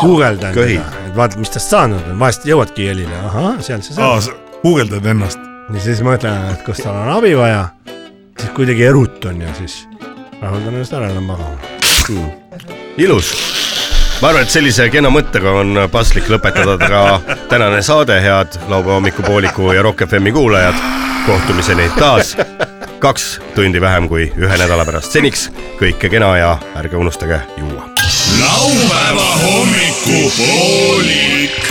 C: guugeldan
G: Köhid.
C: teda , et vaata , mis tast saanud on , vahest jõuadki jälile , ahah , seal see saab
B: aa , Ah, sa guugeldad ennast .
C: ja siis mõtlen , et kas tal on abi vaja , siis kuidagi erutun ja siis rahuldan ennast ära ja lähen magama .
G: ilus ma arvan , et sellise kena mõttega on paslik lõpetada ka tänane saade , head laupäeva hommikupooliku ja Rock FM-i kuulajad . kohtumiseni taas kaks tundi vähem kui ühe nädala pärast . seniks kõike kena ja ärge unustage juua .
D: laupäeva hommikupoolik .